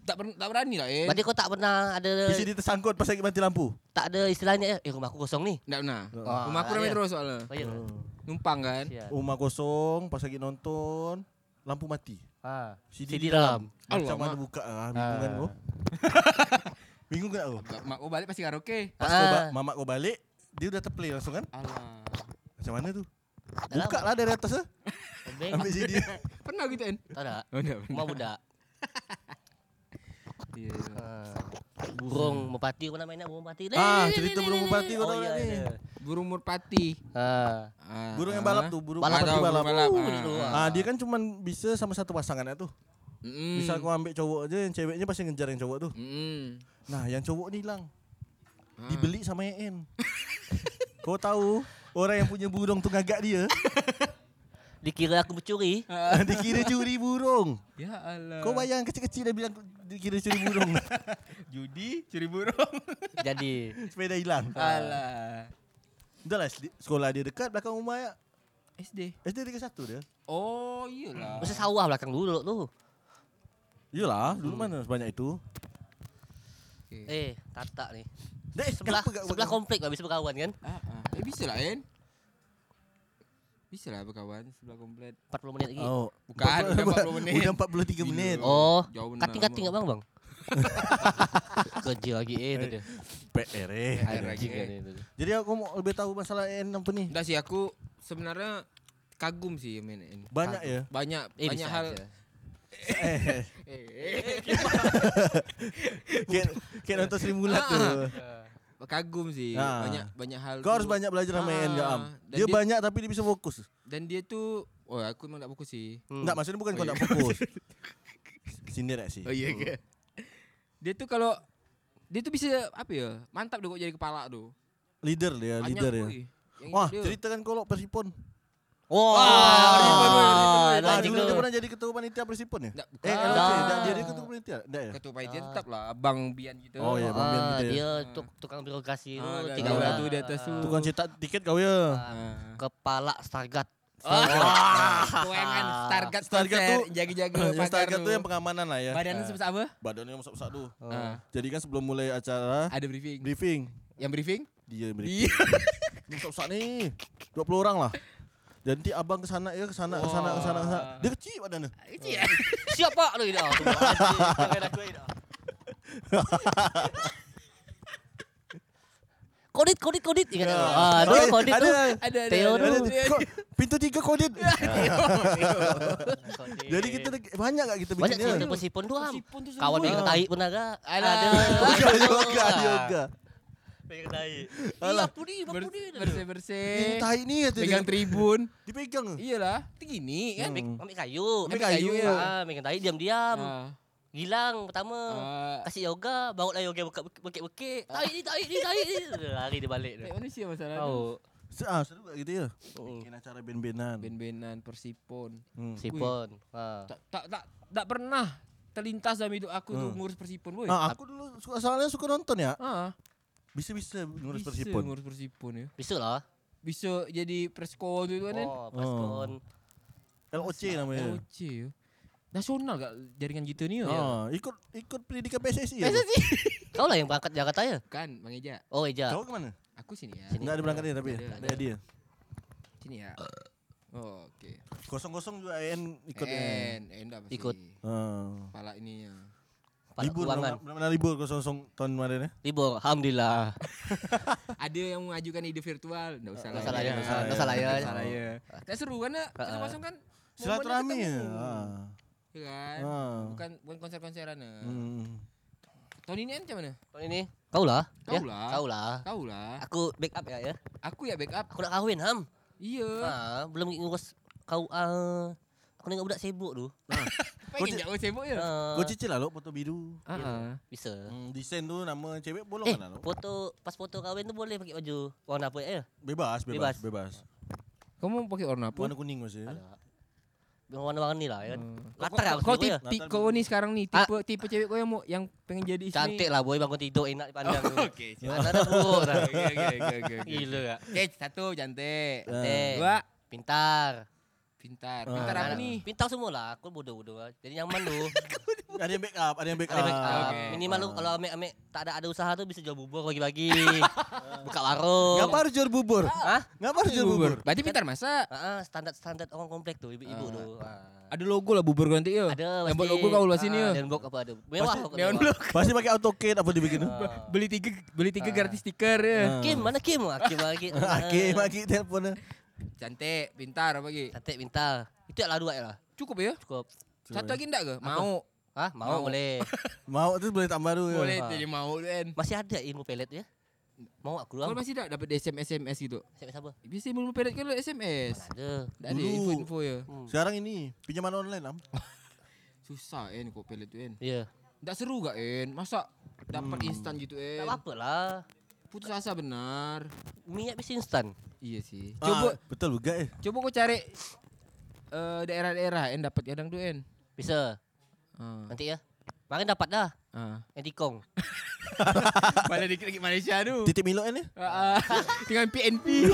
S4: Tak, ber, tak berani lah eh.
S5: Berarti kau tak pernah ada
S3: Di sini tersangkut pas lagi mati lampu.
S5: tak ada istilahnya eh rumah aku kosong ni.
S4: Tak benar.
S5: Ah,
S4: Rumah aku ramai
S5: iya.
S4: terus soalnya.
S5: Oh, iya. ke?
S4: Numpang kan.
S5: Sial.
S3: Rumah kosong, pas lagi nonton, lampu mati.
S5: Ha.
S3: CD,
S5: CD
S3: di dalam.
S5: dalam.
S3: Macam
S4: Allah,
S3: mana
S4: Mak.
S3: buka ah, bingung kan kau? bingung kan kau?
S4: Ba- Mak kau balik pasti eh. karaoke.
S3: Pas kau ba-
S5: Ah.
S3: mamak kau balik, dia udah terplay langsung kan?
S4: Alah.
S3: Macam mana tu?
S5: Dalam.
S3: Buka lah dari atas ah.
S5: Obeng.
S3: Ambil CD.
S4: Pernah gitu En?
S5: Tak ada.
S4: Oh, tak
S5: Rumah budak.
S4: Iya.
S5: Burung merpati kau nak main nak burung merpati.
S3: ah, cerita burung merpati kau
S5: Oh
S3: tahu
S5: iya.
S3: tak ni.
S5: iya.
S4: Burung merpati.
S5: Ha.
S4: Ah,
S3: Burung yang
S4: ah.
S3: balap tu, burung
S5: Balap
S3: merpati
S4: tahu,
S3: balap.
S4: burung balap.
S5: Uh,
S4: Ah,
S5: dia keluar.
S3: Ah, dia kan cuman bisa sama satu pasangan lah tu.
S4: Mm.
S5: Hmm.
S3: Bisa kau ambil cowok je, yang ceweknya pasti ngejar yang cowok tu.
S4: Mm.
S3: Nah, yang cowok ni hilang.
S4: Hmm.
S3: Dibeli sama EN. Kau tahu orang yang punya burung tu ngagak dia.
S5: Dikira aku mencuri.
S3: Dikira curi burung.
S4: Ya Allah.
S5: Ah.
S3: Kau bayang kecil-kecil dia bilang dikira curi burung.
S4: judi, curi burung.
S5: Jadi
S3: Sepeda hilang.
S5: Ah.
S4: Alah.
S3: Dah lah sedi- sekolah dia dekat belakang rumah ya.
S4: SD.
S3: SD 31 dia.
S4: Oh,
S3: Ah.
S4: iyalah.
S5: masa sawah belakang dulu tu.
S3: Iyalah,
S5: Hmm.
S3: dulu mana sebanyak itu.
S4: Okay.
S5: Eh, tatak ni.
S3: Dek,
S5: eh, Sebelah
S3: kenapa kau-
S5: sebelah
S3: kau-
S5: komplek lah bisa berkawan kan?
S4: Ah, ah. Eh, bisa lah, En. Bisa lah berkawan sebelah komplit.
S5: 40 menit lagi.
S3: Oh,
S4: Bukan, udah 40 menit.
S3: Udah 43 menit.
S4: Gila.
S5: Oh,
S4: Jauh benar lah,
S5: kating-kating kat bang bang. Kerja lagi eh tu dia.
S3: PR eh.
S4: Ada lagi,
S5: Kerja
S4: eh.
S5: dia tu.
S3: Jadi aku mau lebih tahu masalah N apa ni.
S4: Enggak sih aku sebenarnya kagum sih main ini.
S3: Banyak ya?
S4: Banyak
S5: Eh,
S4: banyak
S5: bisa
S4: hal.
S5: aja.
S4: Eh,
S3: Kayak kayak nonton Sri Mulat
S4: Ah.
S3: tu.
S4: eh, kagum sih.
S3: Ah.
S4: Banyak banyak hal.
S3: Kau harus
S4: tuh.
S3: banyak belajar sama N ya Am.
S4: Ah, dan
S3: Dia
S4: dia-
S3: banyak tapi dia bisa fokus.
S4: Dan dia tuh Oh aku memang tak fokus sih
S5: Hmm.
S3: Enggak, maksudnya bukan kau tak fokus. Sindir tak sih?
S4: Oh, iya ke Dia tuh kalau Dia tuh bisa Apa ya Mantap dia kok jadi kepala tuh
S3: Leader dia,
S4: Banyak,
S3: leader ya. dia.
S4: woi, yang
S3: Wah,
S4: dia.
S3: ceritakan kolok Persipon.
S5: Wah,
S4: ribet,
S5: oh,
S4: ribet, ribet.
S5: dah
S3: Ah,
S4: anjing
S3: dulu dia
S5: jingga.
S3: pernah jadi ketua panitia Persipon ya?
S4: Nggak,
S3: Eh,
S4: bukan.
S3: LHC,
S5: Dah.
S3: dah, dia ada ketua panitia. Enggak ya?
S4: Ketua panitia tetap lah Abang Bian gitu
S3: Oh, iya. Abang Bian
S5: Ah,
S3: gitu ya.
S5: dia tuk- tukang birokrasi tu,
S4: Ah, dah,
S5: tiga
S3: dah,
S5: orang.
S4: tu di atas tu.
S3: Tukang cetak tiket kau ya.
S4: Ah.
S5: Kepala Stargat.
S4: Ah, kewenangan Stargat
S3: Stargat
S4: Stargat
S3: tuh-
S4: tuh jaga-jaga
S3: Yang
S4: pagar
S3: target
S4: lu.
S3: tuh yang pengamanan lah ya.
S4: Badannya
S3: Ah.
S4: sebesar apa?
S3: Badannya besar-besar tuh.
S4: Ah.
S3: Jadi kan sebelum mulai acara
S4: Ada briefing.
S3: briefing,
S4: Yang briefing?
S3: dia yang briefing.
S4: Iya.
S3: Ini Besar-besar nih. 20 orang lah. Dan nanti abang ke sana ya, ke sana, ke sana, ke sana, ke sana. Dia kecil badannya.
S4: Kecil.
S5: Siap pak tu dah. Kodit, kodit, kodit. Ingat tak? Ah,
S3: Oh, iya,
S5: dia kodit tu.
S3: ada.
S4: Ada Iya. ada.
S5: Teo
S4: ada,
S5: tu.
S3: Ada
S4: ada.
S3: tu. Kok, Iya. pintu tiga kodit.
S5: Kodit.
S3: Jadi kita ada- banyak gak kita
S5: banyak
S3: bikinnya?
S5: cerita Persipon tu am.
S4: Persipon tu seru.
S5: Iya. Kawan
S3: Iya,
S5: dia ketarik pun ada.
S4: Alah.
S5: Ada.
S3: Yoga, yoga,
S4: Ah.
S3: yoga.
S5: Dia ketarik.
S3: Alah.
S5: Iya, pudi, bang
S4: Ber-
S5: pudi.
S3: Ini
S4: Bersih-bersih.
S3: tai ni kata Iya, dia.
S4: Pegang tribun.
S3: Dipegang. ke?
S4: Iyalah, tinggi kan.
S5: Ambil ambil kayu.
S4: Ambil kayu.
S5: Ah, ambil kayu
S3: Hmm.
S5: diam-diam.
S4: Ah.
S5: Gilang pertama.
S4: Ah.
S5: Kasih yoga, baru lah yoga buka- bekik-bekik. Tarik ni, tarik ni, tarik ni. Dia Lari dia balik tu.
S4: Kayak manusia masalah tu.
S5: Tahu.
S3: Se- Ah, seru gak gitu ya?
S4: Oh.
S3: Bikin acara ben-benan.
S4: Ben-benan Persipon.
S3: Hmm.
S5: Sipon. Ha.
S4: Tak tak tak tak pernah terlintas dalam hidup aku tuh ngurus Persipon, boy.
S3: Ah, aku dulu suka, soalnya suka nonton ya.
S4: Ah,
S3: Bisa-bisa ngurus
S4: bisa
S3: Persipon.
S4: Ngurus Persipon ya.
S5: Bisa lah.
S4: Bisa jadi preskon tu kan.
S5: Oh, Paskon.
S3: LOC namanya.
S4: OC ya. Nasional gak jaringan gitu nih ya?
S3: Ah, ikut ikut pendidikan PSSI ya.
S4: Masa sih?
S5: Kau lah yang berangkat Jakarta ya?
S4: Kan, Bang Eja.
S5: Oh, Eja.
S3: Kau ke mana?
S4: Aku sini ya.
S5: Sini.
S3: Enggak ada berangkat dia tapi
S4: Nggak ada,
S3: ada dia.
S4: Sini ya. Oh, oke.
S3: Kosong-kosong juga AN ikut.
S4: En, en dah pasti.
S5: Ikut.
S3: Ah.
S4: Kepala ini ya.
S5: Kepala
S3: libur
S5: keuangan.
S3: benar-benar libur kosong-kosong tahun kemarin ya.
S5: Libur. Alhamdulillah.
S4: Ada yang mengajukan ide virtual, enggak usah lah.
S5: Nggak salah ya, nggak salah-
S4: Nggak
S5: nggak salah ya.
S4: salah ya. Nggak seru karena kita kosong kan momennya
S3: Silaturahmi ya.
S4: ketemu,
S3: Ah.
S4: ya kan?
S3: Ah.
S4: Bukan bukan konser-konseran. ya.
S3: Hmm.
S4: Tahun ini kan macam mana?
S5: Tahun ini kau lah.
S4: Kau
S5: ya?
S4: lah.
S5: Kau lah.
S4: Tahu lah.
S5: Aku backup ya ya.
S4: Aku ya backup.
S5: Aku nak kahwin ham.
S4: Iya.
S5: Ha, belum lagi ngurus kau ah. Aku tengok budak sibuk tu.
S4: Pengen jauh sibuk ya.
S5: Ha,
S3: Kau cicil lah lo foto biru.
S4: Ah, ah.
S5: bisa.
S3: Hmm, desain tu nama cewek bolong
S5: Eh,
S3: kan lo?
S5: foto pas foto kahwin tu boleh pakai baju warna apa ya?
S3: Bebas, bebas,
S5: Bebas.
S3: bebas.
S4: Kamu pakai warna apa?
S3: Warna kuning masih.
S5: Warna-warni lah ya.
S4: Hmm.
S5: Latar lah
S4: Kau
S5: maksud aku ya.
S4: tipe kau ni sekarang ni tipe tipe cewek kau yang mau yang pengen jadi isteri.
S5: Cantik lah boy bangun tidur enak dipandang. Oh,
S4: Okey. lah.
S5: Mana ada buruk dah.
S4: Okey okey okey okey.
S5: Gila tak?
S4: Okey, satu cantik.
S5: Cantik.
S4: Dua
S5: Pintar.
S4: pintar. Pintar apa
S5: Anak-
S4: ni?
S5: Pintar semua lah. Aku bodoh-bodoh lah. Jadi nyaman tu.
S3: Ada yang backup, ada yang backup. Ah.
S5: Ada make up.
S4: Ah, okey. Ah.
S5: Minimal lu kalau amek-amek tak ada ada usaha tu bisa jual bubur pagi-pagi. Buka warung.
S3: Ngapa harus jual bubur?
S5: Hah?
S3: Ngapa harus jual bubur?
S4: Berarti pintar masak.
S5: Ah, ah, standar-standar orang komplek tu, ibu-ibu tu. Ah.
S4: Ada logo lah bubur kau nanti ya.
S5: Ada
S4: Yang buat
S5: pasti.
S4: logo kau lah
S5: Ah,
S4: sini ya.
S5: Neon block apa ada. Mewah kau
S4: Neon block.
S3: Pasti pakai AutoCAD apa dibikin tu?
S4: Beli tiga beli tiga gratis stiker ya.
S5: Kim, mana Kim? Ah, Kim Ah. lagi.
S3: Aki, maki teleponnya.
S4: Hmm. Cantik, pintar apa lagi?
S5: Cantik pintar. Itu lah dua lah.
S4: Cukup ya?
S5: Cukup.
S4: Satu lagi enggak ke? Mau.
S5: Ah, mau,
S4: Mau.
S5: boleh.
S3: Mau tu boleh tambah tu.
S4: Boleh
S5: Ah.
S4: jadi mau tu kan.
S5: Masih ada ilmu pelet ya? Mau aku
S4: Kau
S5: doang.
S4: masih tak dapat SMS SMS gitu?
S5: Siapa siapa?
S4: Biasa belum pelet kan SMS.
S5: Mana ada.
S4: Tak ada
S3: Dulu.
S4: info-info ya.
S3: Sekarang ini pinjaman online lah.
S4: Susah kan kau pelet tu kan.
S5: Ya.
S4: Tak seru gak En? Masa dapat instan gitu
S5: Tak
S4: En?
S5: apa-apa lah.
S4: Putus asa benar.
S5: Minyak bisa instan.
S4: Iya sih.
S3: Coba
S4: Coba
S3: betul Ah, juga eh.
S4: coba kau cari eh, daerah-daerah en dapat kadang tu en.
S5: Bisa
S4: Ah.
S5: Nanti ya Makin dapat dah
S4: Ah.
S5: Yang tikong
S4: Mana dikit lagi Malaysia tu.
S3: Titik Milo kan ni?
S4: Ah, ah. Dengan PNP.